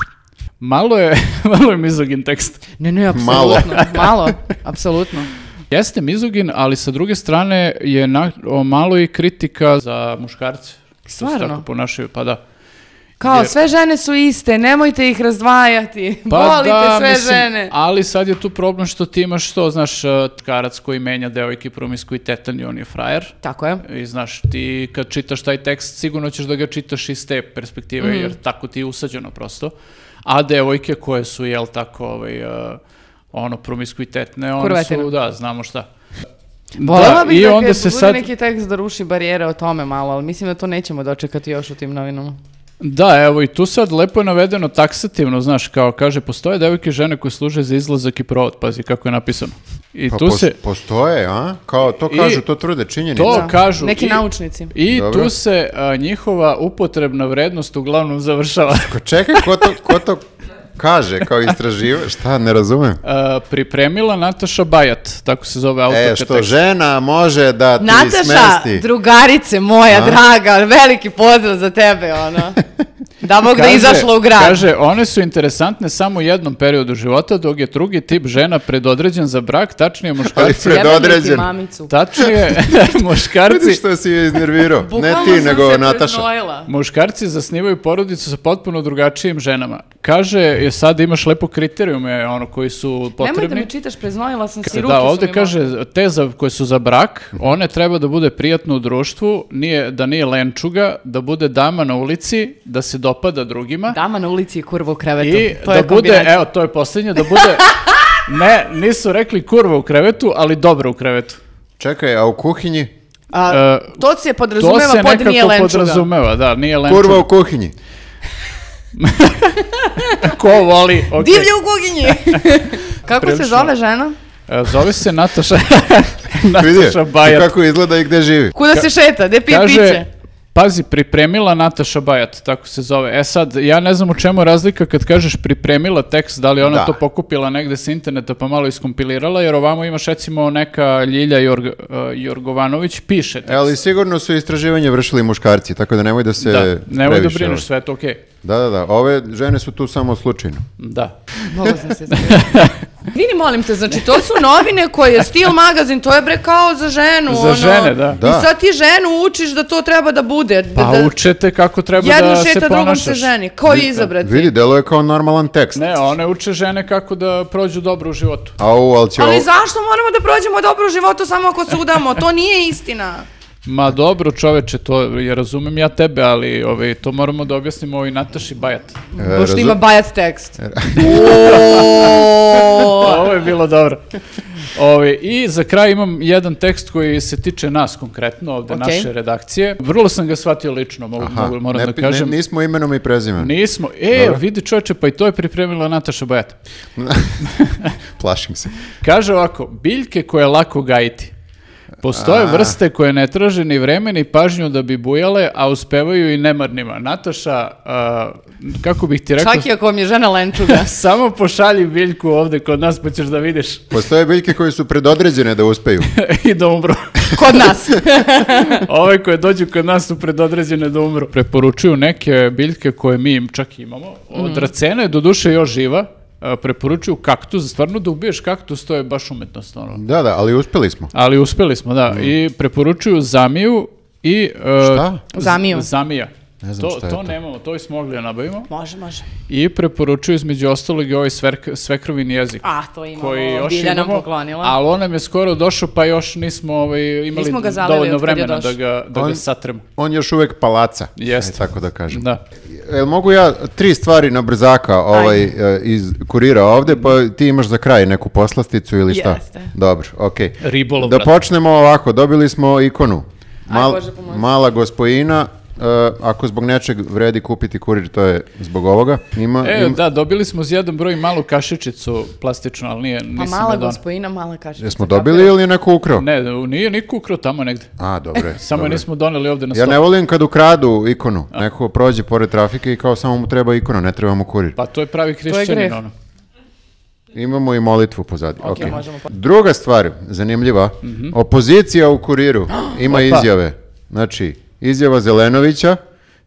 [SPEAKER 3] Malo je, <laughs> malo je mizogin tekst.
[SPEAKER 2] Ne, ne,
[SPEAKER 1] Malo.
[SPEAKER 2] apsolutno. Malo. apsolutno.
[SPEAKER 3] Jeste mizogin, ali sa druge strane je na, o, malo i kritika za muškarce. što se
[SPEAKER 2] Stvarno?
[SPEAKER 3] tako ponašaju, pa da.
[SPEAKER 2] Kao,
[SPEAKER 3] Jer-
[SPEAKER 2] sve žene su iste, nemojte ih razdvajati.
[SPEAKER 3] Pa
[SPEAKER 2] Volite
[SPEAKER 3] da,
[SPEAKER 2] sve
[SPEAKER 3] mislim,
[SPEAKER 2] žene.
[SPEAKER 3] Ali sad je tu problem što ti imaš to, znaš, eh, karac koji menja devojke promisku i tetan i on je frajer.
[SPEAKER 2] Tako je.
[SPEAKER 3] I znaš, ti kad čitaš taj tekst, sigurno ćeš da ga čitaš iz te perspektive,
[SPEAKER 2] Mhm.
[SPEAKER 3] jer tako ti je usađeno prosto. A devojke koje su, jel tako, ovaj, eh, ono, promiskuitetne, one
[SPEAKER 2] Kurvetine.
[SPEAKER 3] su, da, znamo šta.
[SPEAKER 2] Volela bih
[SPEAKER 3] i
[SPEAKER 2] da kad
[SPEAKER 3] onda se
[SPEAKER 2] bude
[SPEAKER 3] sad,
[SPEAKER 2] neki tekst da ruši barijere o tome malo, ali mislim da to nećemo dočekati još u tim novinama.
[SPEAKER 3] Da, evo i tu sad lepo je navedeno taksativno, znaš, kao kaže, postoje devojke i žene koje služe za izlazak i provod, pazi kako je napisano. I
[SPEAKER 1] Pa
[SPEAKER 3] tu
[SPEAKER 1] pos-
[SPEAKER 3] se,
[SPEAKER 1] Postoje, a? Kao to
[SPEAKER 3] I-
[SPEAKER 1] kažu, to tvrde činjenice.
[SPEAKER 3] To
[SPEAKER 2] Da.
[SPEAKER 3] kažu
[SPEAKER 2] Neki
[SPEAKER 3] i-
[SPEAKER 2] naučnici.
[SPEAKER 3] i
[SPEAKER 1] Dobro.
[SPEAKER 3] tu se a, njihova upotrebna vrednost uglavnom završava.
[SPEAKER 1] Ko- Čekaj, ko to, ko to kaže kao istraživa? Šta, ne razumem.
[SPEAKER 3] A, Uh, pripremila Nataša Bajat, tako se zove autorka
[SPEAKER 1] E, što
[SPEAKER 3] teksta.
[SPEAKER 1] žena može da ti
[SPEAKER 2] Nataša,
[SPEAKER 1] smesti.
[SPEAKER 2] drugarice moja, draga, veliki pozdrav za tebe,
[SPEAKER 3] <laughs>
[SPEAKER 2] ono. Da Bog da
[SPEAKER 3] Kaže-
[SPEAKER 2] izašla u grad.
[SPEAKER 3] Kaže, one su interesantne samo u jednom periodu života, dok je drugi tip žena predodređen za brak, tačnije
[SPEAKER 1] Ali
[SPEAKER 3] muškarci...
[SPEAKER 1] predodređen.
[SPEAKER 2] mamicu.
[SPEAKER 3] Tačnije,
[SPEAKER 1] <laughs> Vidi
[SPEAKER 3] muškarci...
[SPEAKER 1] što si je iznervirao. ne
[SPEAKER 2] Bukvalno
[SPEAKER 1] ti,
[SPEAKER 2] sam
[SPEAKER 1] nego
[SPEAKER 2] se
[SPEAKER 1] Nataša.
[SPEAKER 2] preznojila.
[SPEAKER 3] Muškarci zasnivaju porodicu sa potpuno drugačijim ženama. Kaže, je sad imaš lepo kriterijume ono, koji su
[SPEAKER 2] Nemoj da
[SPEAKER 3] potrebni.
[SPEAKER 2] me čitaš, preznojila sam si,
[SPEAKER 3] Da,
[SPEAKER 2] ruke su
[SPEAKER 3] ovde
[SPEAKER 2] mi mokre.
[SPEAKER 3] kaže, te za, koje su za brak, one treba da bude prijatno u društvu, nije, da nije lenčuga, da bude dama na ulici, da se dopada drugima
[SPEAKER 2] Dama na ulici i kurva u krevetu.
[SPEAKER 3] i
[SPEAKER 2] Da. to
[SPEAKER 3] da
[SPEAKER 2] je
[SPEAKER 3] bude,
[SPEAKER 2] kombinacija.
[SPEAKER 3] evo, to je posljednje, da
[SPEAKER 2] <laughs>
[SPEAKER 3] bude, ne, nisu rekli kurva u krevetu, ali dobro u krevetu.
[SPEAKER 1] Čekaj, a u kuhinji?
[SPEAKER 2] A,
[SPEAKER 3] e,
[SPEAKER 2] to se
[SPEAKER 3] To
[SPEAKER 2] Da. podrazumeva
[SPEAKER 3] se
[SPEAKER 2] pod nije
[SPEAKER 3] nekako
[SPEAKER 2] lenčuga.
[SPEAKER 3] podrazumeva, da, nije lenčuga.
[SPEAKER 1] Kurva u kuhinji.
[SPEAKER 3] ko <laughs> voli, okej.
[SPEAKER 2] Divlje u
[SPEAKER 3] <laughs>
[SPEAKER 2] kuginji! Kako se
[SPEAKER 3] Prilično.
[SPEAKER 2] zove žena?
[SPEAKER 3] E, Zove se Nataša, <laughs>
[SPEAKER 1] Vidi,
[SPEAKER 3] Nataša Bajat.
[SPEAKER 1] kako izgleda i gde živi.
[SPEAKER 2] Kuda se šeta? Gde pije
[SPEAKER 3] Kaže,
[SPEAKER 2] piće?
[SPEAKER 3] pazi, pripremila Nataša Bajat, tako se zove. E sad, ja ne znam u čemu je razlika kad kažeš pripremila tekst, da li je ona
[SPEAKER 1] Da.
[SPEAKER 3] to pokupila negde sa interneta pa malo iskompilirala, jer ovamo imaš recimo neka Ljilja Jorg, e, Jorgovanović piše tekst.
[SPEAKER 1] E, ali sigurno su istraživanje vršili muškarci, tako da nemoj da se
[SPEAKER 3] da, nemoj da
[SPEAKER 1] previše,
[SPEAKER 3] brineš, sve je to okej.
[SPEAKER 1] Da, da, da. Ove žene su tu samo slučajno.
[SPEAKER 3] Da.
[SPEAKER 2] Mogla sam
[SPEAKER 3] <laughs>
[SPEAKER 2] se izgledati. Vini, molim te, znači to su novine koje je stil magazin, to je bre kao za ženu.
[SPEAKER 3] Za
[SPEAKER 2] ono.
[SPEAKER 3] žene, da.
[SPEAKER 1] Da.
[SPEAKER 2] I sad ti ženu učiš da to treba da bude.
[SPEAKER 3] Pa
[SPEAKER 2] da,
[SPEAKER 3] učete kako treba
[SPEAKER 2] jedno
[SPEAKER 3] da
[SPEAKER 2] šeta,
[SPEAKER 3] se
[SPEAKER 2] drugom se
[SPEAKER 3] ponašaš.
[SPEAKER 2] ženi. Ko je izabrati?
[SPEAKER 1] Da, Vidi, delo je kao normalan tekst.
[SPEAKER 3] Ne, one uče žene kako da prođu dobro u životu.
[SPEAKER 1] Au, ali će
[SPEAKER 2] Ali
[SPEAKER 1] ovo-
[SPEAKER 2] zašto moramo da prođemo dobro u životu samo ako se udamo? To nije istina.
[SPEAKER 3] Ma dobro čoveče, to je, razumem ja tebe, ali ovaj, to moramo da objasnimo ovoj Nataši Bajat.
[SPEAKER 1] E,
[SPEAKER 2] Pošto
[SPEAKER 3] <laughs>
[SPEAKER 1] razum-
[SPEAKER 2] ima bajat tekst.
[SPEAKER 3] Ovo je bilo dobro. Ove, I za kraj imam jedan tekst koji se tiče nas konkretno, ovde
[SPEAKER 2] Ok.
[SPEAKER 3] naše redakcije. Vrlo sam ga shvatio lično, mogu, mogu- moram
[SPEAKER 1] ne
[SPEAKER 3] da
[SPEAKER 1] pi-
[SPEAKER 3] kažem.
[SPEAKER 1] ne- nismo imenom i prezimenom.
[SPEAKER 3] Nismo. E, vidi čoveče, pa i to je pripremila Nataša Bajata.
[SPEAKER 1] <laughs> Plašim se.
[SPEAKER 3] Kaže ovako, biljke koje lako gajiti. Postoje vrste koje ne traže ni vreme ni pažnju da bi bujale, a uspevaju i nemarnima. Nataša, a, kako bih ti rekao,
[SPEAKER 2] Čak i ako vam je žena lenčuga.
[SPEAKER 3] samo pošalji biljku ovde kod nas pa ćeš da vidiš <laughs>
[SPEAKER 1] Postoje biljke koje su predodređene da uspeju.
[SPEAKER 3] i da umru.
[SPEAKER 2] Kod
[SPEAKER 3] <laughs>
[SPEAKER 2] nas. Ovaj
[SPEAKER 3] Ove koje dođu kod nas su predodređene da umru. Preporučuju neke biljke koje mi im čak imamo.
[SPEAKER 2] Mm.
[SPEAKER 3] Od racena je doduše još živa. a, Preporučuju kaktus, stvarno da ubiješ kaktus, to je baš umetnost. Ono.
[SPEAKER 1] Da, da, ali uspeli smo.
[SPEAKER 3] Ali uspeli smo, da. I preporučuju zamiju i... e,
[SPEAKER 1] Mm. Šta?
[SPEAKER 3] z-
[SPEAKER 2] Zamiju.
[SPEAKER 3] Zamija.
[SPEAKER 1] Ne znam
[SPEAKER 3] to,
[SPEAKER 1] šta je
[SPEAKER 3] to.
[SPEAKER 1] to.
[SPEAKER 3] nemamo, to smo mogli da nabavimo.
[SPEAKER 2] može, može.
[SPEAKER 3] I preporučuju između ostalog i ovaj sverk, svekrovin jezik.
[SPEAKER 2] A, to imamo.
[SPEAKER 3] koji još
[SPEAKER 2] Bilja nam
[SPEAKER 3] imamo,
[SPEAKER 2] poklonila.
[SPEAKER 3] ali on nam je skoro došao, pa još nismo ovaj, imali
[SPEAKER 2] Nismo ga zalili
[SPEAKER 3] dovoljno
[SPEAKER 2] od kad je
[SPEAKER 3] vremena da
[SPEAKER 2] došao.
[SPEAKER 3] ga, da ga
[SPEAKER 1] On-
[SPEAKER 3] satremo.
[SPEAKER 1] On još uvek palaca.
[SPEAKER 3] Jeste.
[SPEAKER 1] Aj, Tako da kažem.
[SPEAKER 3] Da.
[SPEAKER 1] Jel mogu ja tri stvari na brzaka ovaj, e, iz kurira ovde, pa ti imaš za kraj neku poslasticu ili šta?
[SPEAKER 2] Jeste.
[SPEAKER 1] Dobro, okej.
[SPEAKER 3] Ribolov,
[SPEAKER 1] Da
[SPEAKER 3] brate.
[SPEAKER 1] počnemo ovako, dobili smo ikonu.
[SPEAKER 2] Aj, Bože, pomozi.
[SPEAKER 1] mala gospojina, e, ako zbog nečeg vredi kupiti kurir, to je zbog ovoga. Ima,
[SPEAKER 3] E,
[SPEAKER 1] im-
[SPEAKER 3] da, dobili smo za jedan broj malu kašičicu plastičnu, ali nije,
[SPEAKER 2] Pa
[SPEAKER 3] nisam
[SPEAKER 2] mala
[SPEAKER 3] je donao.
[SPEAKER 2] gospojina, mala da kašica.
[SPEAKER 1] Jesmo
[SPEAKER 2] kafe.
[SPEAKER 1] dobili ili je neko ukrao?
[SPEAKER 3] Ne, nije niko ukrao tamo negde.
[SPEAKER 1] A, dobro je,
[SPEAKER 3] Samo je
[SPEAKER 1] dobro je.
[SPEAKER 3] nismo doneli ovde na
[SPEAKER 1] Ja
[SPEAKER 3] stol.
[SPEAKER 1] ne volim kad ukradu ikonu. Neko prođe pored trafike i kao samo mu treba ikona, ne treba mu kurir.
[SPEAKER 3] Pa to je pravi hrišćanin,
[SPEAKER 2] greh.
[SPEAKER 3] ono. <laughs>
[SPEAKER 1] Imamo i molitvu pozadi.
[SPEAKER 2] Ok,
[SPEAKER 1] Ok.
[SPEAKER 2] možemo po- Mhm.
[SPEAKER 1] Druga stvar, zanimljiva, opozicija u
[SPEAKER 2] <gasps>
[SPEAKER 1] kuriru ima izjave. Znači, izjava Zelenovića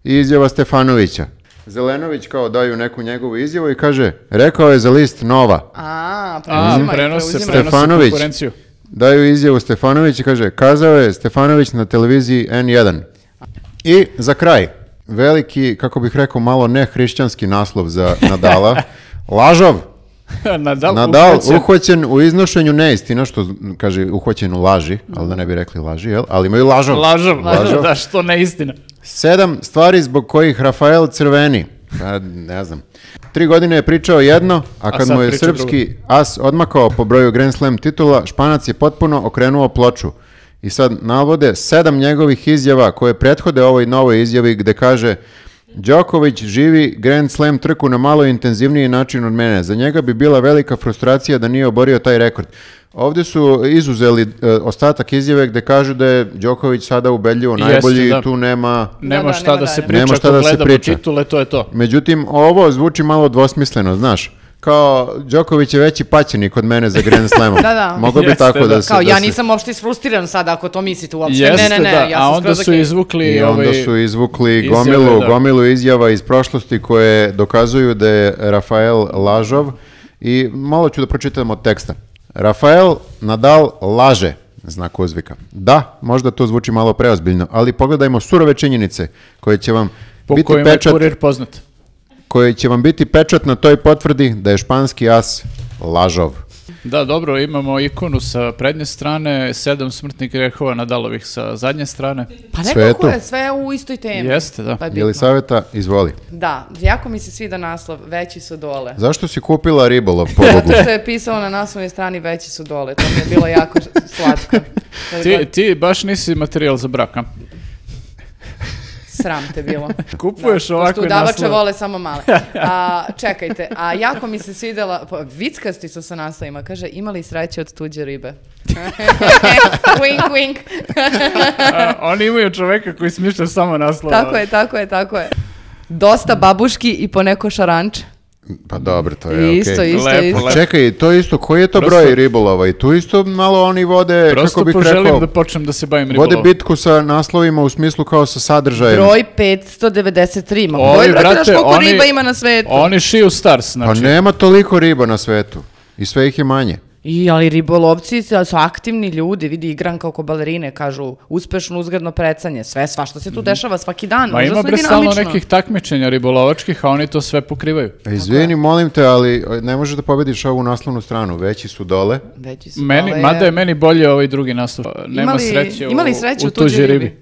[SPEAKER 1] i izjava Stefanovića. Zelenović kao daju neku njegovu izjavu i kaže, rekao je za list Nova.
[SPEAKER 2] A,
[SPEAKER 3] A,
[SPEAKER 2] preuzimaj,
[SPEAKER 3] prenose,
[SPEAKER 2] preuzimaj.
[SPEAKER 3] prenose
[SPEAKER 1] Stefanović.
[SPEAKER 3] da konkurenciju.
[SPEAKER 1] Daju izjavu Stefanović i kaže, kazao je Stefanović na televiziji N1. I za kraj, veliki, kako bih rekao, malo nehrišćanski naslov
[SPEAKER 3] <laughs>
[SPEAKER 1] za Nadala, lažov.
[SPEAKER 3] Nadal,
[SPEAKER 1] Nadal
[SPEAKER 3] Da, uhvaćen.
[SPEAKER 1] uhvaćen u iznošenju neistina, što z- kaže uhvaćen u laži, ali da ne bi rekli laži, jel? Ali imaju lažov.
[SPEAKER 3] Lažov,
[SPEAKER 1] Lažov.
[SPEAKER 3] <laughs> da, što ne istina.
[SPEAKER 1] Sedam stvari zbog kojih Rafael crveni. Pa, ne znam. Tri godine je pričao jedno, a kad
[SPEAKER 3] sad
[SPEAKER 1] mu je
[SPEAKER 3] priča
[SPEAKER 1] srpski as odmakao po broju Grand Slam titula, Španac je potpuno okrenuo ploču. I sad navode sedam njegovih izjava koje prethode ovoj novoj izjavi gde kaže Đoković živi Grand Slam trku na malo intenzivniji način od mene. Za njega bi bila velika frustracija da nije oborio taj rekord. Ovdje su izuzeli e, ostatak izjave gde kažu da je Đoković sada ubedljivo
[SPEAKER 3] Jeste,
[SPEAKER 1] najbolji i
[SPEAKER 3] da.
[SPEAKER 1] tu nema
[SPEAKER 3] Nema
[SPEAKER 2] da,
[SPEAKER 3] šta
[SPEAKER 2] nema
[SPEAKER 3] da se
[SPEAKER 2] dalje.
[SPEAKER 3] priča,
[SPEAKER 1] Nema šta
[SPEAKER 3] ako
[SPEAKER 1] da se
[SPEAKER 3] gledamo
[SPEAKER 1] priča.
[SPEAKER 3] titule, to je to.
[SPEAKER 1] Međutim, ovo zvuči malo dvosmisleno, znaš. Kao, Đoković je veći paćenik od mene za Grand Slamom.
[SPEAKER 2] <laughs> Da, da.
[SPEAKER 1] Moglo bi
[SPEAKER 3] Jeste,
[SPEAKER 1] tako da,
[SPEAKER 3] da.
[SPEAKER 1] se...
[SPEAKER 2] Kao,
[SPEAKER 1] da
[SPEAKER 2] ja
[SPEAKER 1] se-
[SPEAKER 2] nisam uopšte isfrustiran sada ako to mislite uopšte.
[SPEAKER 3] Jeste,
[SPEAKER 2] ne, ne, ne,
[SPEAKER 3] da,
[SPEAKER 2] ja sam
[SPEAKER 3] a onda
[SPEAKER 2] skroz
[SPEAKER 3] su
[SPEAKER 2] okej.
[SPEAKER 3] izvukli...
[SPEAKER 1] I onda
[SPEAKER 3] ovaj,
[SPEAKER 1] su izvukli
[SPEAKER 3] izjave,
[SPEAKER 1] gomilu,
[SPEAKER 3] da.
[SPEAKER 1] gomilu izjava iz prošlosti koje dokazuju da je Rafael lažov. I malo ću da pročitam od teksta. Rafael Nadal laže, znak uzvika. Da, možda to zvuči malo preozbiljno, ali pogledajmo surove činjenice koje će vam
[SPEAKER 3] po
[SPEAKER 1] biti
[SPEAKER 3] kojima je
[SPEAKER 1] pečat
[SPEAKER 3] kurir poznat.
[SPEAKER 1] koji će vam biti pečat na toj potvrdi da je španski as lažov.
[SPEAKER 3] Da, dobro, imamo ikonu sa prednje strane, sedam smrtnih grehova Nadalovih sa zadnje strane.
[SPEAKER 2] Pa
[SPEAKER 1] Sve je
[SPEAKER 2] nekako
[SPEAKER 1] tu.
[SPEAKER 2] je sve u istoj temi.
[SPEAKER 3] Jeste, da.
[SPEAKER 2] Pa je bitno.
[SPEAKER 1] Jelisaveta, izvoli.
[SPEAKER 2] Da, jako mi se sviđa naslov, veći su dole.
[SPEAKER 1] Zašto si kupila ribolov
[SPEAKER 2] <laughs>
[SPEAKER 1] pobogu?
[SPEAKER 2] Zato što je pisao na naslovnoj strani veći su dole, to mi je bilo
[SPEAKER 3] <laughs>
[SPEAKER 2] jako slatko. Kad
[SPEAKER 3] Ti,
[SPEAKER 2] god-
[SPEAKER 3] ti baš nisi materijal za brak, a? Sram
[SPEAKER 2] Sram te bilo.
[SPEAKER 3] Kupuješ
[SPEAKER 2] Da,
[SPEAKER 3] ovako
[SPEAKER 2] pošto udavače
[SPEAKER 3] naslov.
[SPEAKER 2] vole samo
[SPEAKER 3] <laughs>
[SPEAKER 2] male. A, čekajte, a jako mi se svidela, pa, vickasti su sa naslovima, kaže imali sreće od tuđe ribe. <laughs> wink, wink.
[SPEAKER 3] A, oni imaju čoveka koji smišlja samo naslova.
[SPEAKER 2] tako je, tako je, tako je. Dosta babuški i poneko šaranč.
[SPEAKER 1] Pa dobro, to je okej.
[SPEAKER 2] I isto, isto,
[SPEAKER 3] E, Lepo,
[SPEAKER 2] isto.
[SPEAKER 1] Pa Čekaj, to isto, koji je to
[SPEAKER 3] Prosto-
[SPEAKER 1] broj ribolova? I tu isto malo oni vode,
[SPEAKER 3] Prosto
[SPEAKER 1] kako bih
[SPEAKER 3] poželim
[SPEAKER 1] rekao,
[SPEAKER 3] da počnem da se bavim
[SPEAKER 1] vode
[SPEAKER 3] ribolovom.
[SPEAKER 1] bitku sa naslovima u smislu kao sa sadržajem.
[SPEAKER 2] Broj 593. Ma,
[SPEAKER 3] Ovi,
[SPEAKER 2] broj, brate,
[SPEAKER 3] brate,
[SPEAKER 2] znaš koliko
[SPEAKER 3] oni-
[SPEAKER 2] riba ima na svetu?
[SPEAKER 3] Oni šiju stars,
[SPEAKER 1] Pa
[SPEAKER 3] znači.
[SPEAKER 1] nema toliko riba na svetu. I sve ih je manje.
[SPEAKER 2] I, ali ribolovci su su aktivni ljudi, vidi igranka oko balerine, kažu uspešno uzgredno precanje, sve, svašta se tu dešava svaki dan,
[SPEAKER 3] Mhm. Ma ima
[SPEAKER 2] užasno
[SPEAKER 3] bre
[SPEAKER 2] je
[SPEAKER 3] stalno
[SPEAKER 2] dinamično.
[SPEAKER 3] nekih takmičenja ribolovačkih, a oni to sve pokrivaju.
[SPEAKER 1] E, Izvini, molim te, ali e, ne možeš da pobediš ovu naslovnu stranu. Veći su dole.
[SPEAKER 2] Veći su
[SPEAKER 3] Meni,
[SPEAKER 2] dole.
[SPEAKER 3] mada je meni bolje ovaj drugi naslov. Nema
[SPEAKER 2] Imali-
[SPEAKER 3] sreće u,
[SPEAKER 2] imali sreće
[SPEAKER 3] u
[SPEAKER 2] u tuđoj ribi.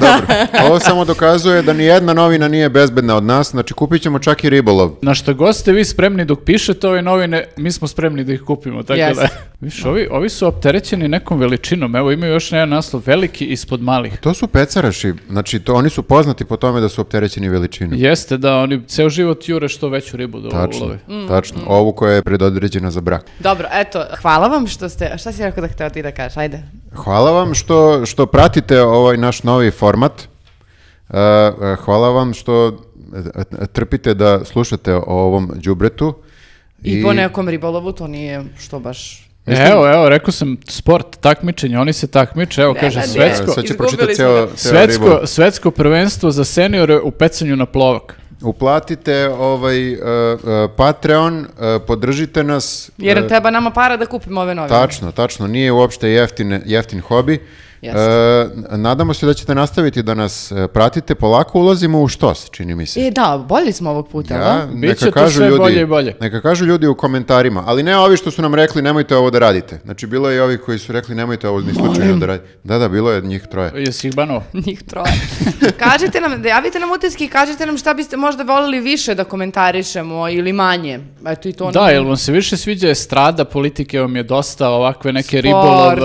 [SPEAKER 1] Dobro.
[SPEAKER 2] <laughs>
[SPEAKER 1] Ovo samo dokazuje da ni jedna novina nije bezbedna od nas, znači kupit ćemo čak i ribolov.
[SPEAKER 3] Na što god ste vi spremni dok pišete ove novine, mi smo spremni da ih kupimo, tako
[SPEAKER 2] Jeste.
[SPEAKER 3] da. Viš, ovi, ovi su opterećeni nekom veličinom, evo imaju još jedan naslov, veliki ispod malih.
[SPEAKER 1] To su pecaraši, znači to, oni su poznati po tome da su opterećeni veličinom.
[SPEAKER 3] Jeste da oni ceo život jure što veću ribu da
[SPEAKER 1] Tačno,
[SPEAKER 3] ulove.
[SPEAKER 2] Mm,
[SPEAKER 1] tačno. Ovu koja je predodređena za brak.
[SPEAKER 2] Dobro, eto, hvala vam što ste... Šta si rekao da hteo ti da kažeš? Ajde.
[SPEAKER 1] Hvala vam što, što pratite ovaj naš novi format. E, e, Hvala vam što e, trpite da slušate o ovom đubretu.
[SPEAKER 2] I, po nekom ribolovu to nije što baš...
[SPEAKER 3] E, Evo, evo, rekao sam sport, takmičenje, oni se takmiče, evo
[SPEAKER 2] Ne,
[SPEAKER 3] kaže
[SPEAKER 2] ne, ne.
[SPEAKER 3] svetsko,
[SPEAKER 1] Sad će
[SPEAKER 2] Izgubili
[SPEAKER 1] pročitati
[SPEAKER 2] smo
[SPEAKER 1] ceo,
[SPEAKER 2] ga.
[SPEAKER 1] ceo
[SPEAKER 3] svetsko,
[SPEAKER 1] ribolov.
[SPEAKER 3] svetsko prvenstvo za seniore u pecanju na plovak.
[SPEAKER 1] Uplatite ovaj e, e, Patreon, e, podržite nas.
[SPEAKER 2] Jer
[SPEAKER 1] e,
[SPEAKER 2] treba nama para da kupimo ove novine.
[SPEAKER 1] Tačno, tačno. Nije uopšte jeftine, jeftin hobi.
[SPEAKER 2] Jeste.
[SPEAKER 1] E, nadamo se da ćete nastaviti da nas e, pratite. Polako ulazimo u štos, čini mi se.
[SPEAKER 2] E, da, bolji smo ovog puta,
[SPEAKER 1] Ja,
[SPEAKER 2] da? <laughs>
[SPEAKER 3] Biće to sve bolje i bolje.
[SPEAKER 1] Neka kažu ljudi u komentarima, ali ne ovi što su nam rekli nemojte ovo da radite. Znači, bilo je i ovi koji su rekli nemojte ovo ni slučajno da radite. Da, da, bilo je njih troje.
[SPEAKER 3] Jesi ih banovo?
[SPEAKER 2] Njih
[SPEAKER 1] <laughs>
[SPEAKER 2] troje. kažite nam, javite nam utiske i kažite nam šta biste možda volili više da komentarišemo ili manje. Eto i to nam-
[SPEAKER 3] Da, jel vam se više sviđa estrada, politike vam je dosta ovakve neke ribolov,
[SPEAKER 2] Sport,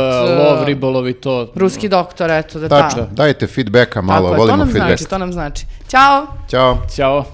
[SPEAKER 3] lov,
[SPEAKER 2] e,
[SPEAKER 3] ribolov i to.
[SPEAKER 2] Ruski doktor, eto da
[SPEAKER 1] Tačno,
[SPEAKER 2] da.
[SPEAKER 1] dajte feedbacka malo,
[SPEAKER 2] Tako je, to
[SPEAKER 1] volimo
[SPEAKER 2] nam
[SPEAKER 1] feedback.
[SPEAKER 2] znači, to nam znači. Ćao!
[SPEAKER 1] Ćao.
[SPEAKER 3] Ćao.